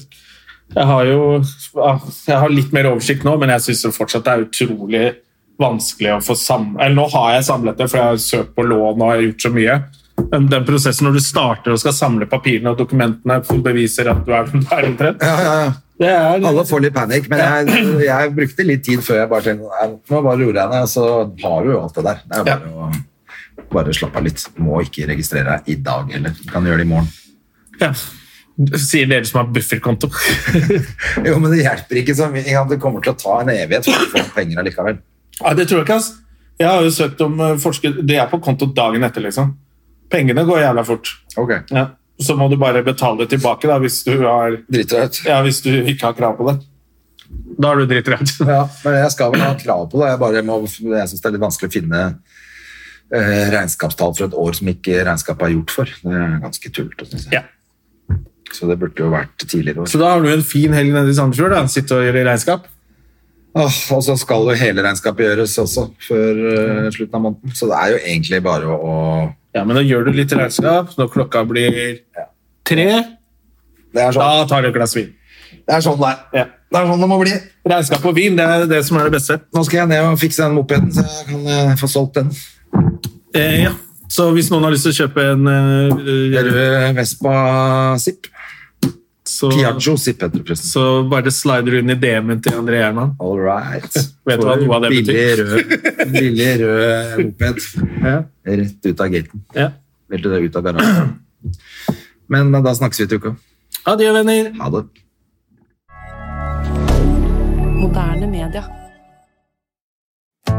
Jeg har jo jeg har litt mer oversikt nå, men jeg syns fortsatt det er utrolig vanskelig å få samlet Eller nå har jeg samlet det, for jeg har søkt på lån og jeg har gjort så mye. Men den prosessen når du starter og skal samle papirene og dokumentene som beviser at du er den du er omtrent Ja, ja, ja. det er, Alle får litt panikk, men jeg, jeg brukte litt tid før jeg bare tenkte "Nei, nå bare roer jeg ned, så har du jo alt det der. Det er bare å bare slappe av litt. Må ikke registrere deg i dag heller. Du Kan gjøre det i morgen. ja. Sier dere som har bufferkonto. Jo, men det hjelper ikke så mye. ikke sant? Det kommer til å ta en evighet for å få penger allikevel. Ja, det tror jeg ikke, ass. Jeg har jo søkt om eh, forskudd Det er på konto dagen etter, liksom. Pengene går jævla fort. Ok, Ja. Så må du bare betale det tilbake da, hvis du, har, driter deg ut. ja, hvis du ikke har krav på det. Da er du drittredd. Ja, men jeg skal vel ha krav på det. Jeg, bare må, jeg synes det er litt vanskelig å finne eh, regnskapstall for et år som ikke regnskapet er gjort for. Det er ganske tullete, synes jeg. Ja. Så det burde jo vært tidligere år. [laughs] Så da har du en fin helg nede i Sandefjord. da, Sitte og gjøre regnskap. Åh, og så skal jo hele regnskapet gjøres også før eh, slutten av måneden. Så det er jo egentlig bare å, å Ja, men da gjør du litt regnskap når klokka blir tre. det, er Da sånn, tar du et glass vin. det er sånn det er. Ja. Det er sånn det må bli. Regnskap og vin det er det som er det beste. Nå skal jeg ned og fikse den mopeden, så jeg kan eh, få solgt den. Eh, ja. Så hvis noen har lyst til å kjøpe en eh, eh, Rød Vespa Zipp. så, Piaggio Zipp heter det. forresten. så bare slider du inn i DM-en til André Gjerman. All right. [laughs] Vet du hva noe av det betyr? Billig [laughs] rød, billig rød moped. Ja. Rett ut av gaten. Ja. Veldig det ut av garasjen. Men eh, da snakkes vi til uka. Adjø, venner. Ha det. Moderne media.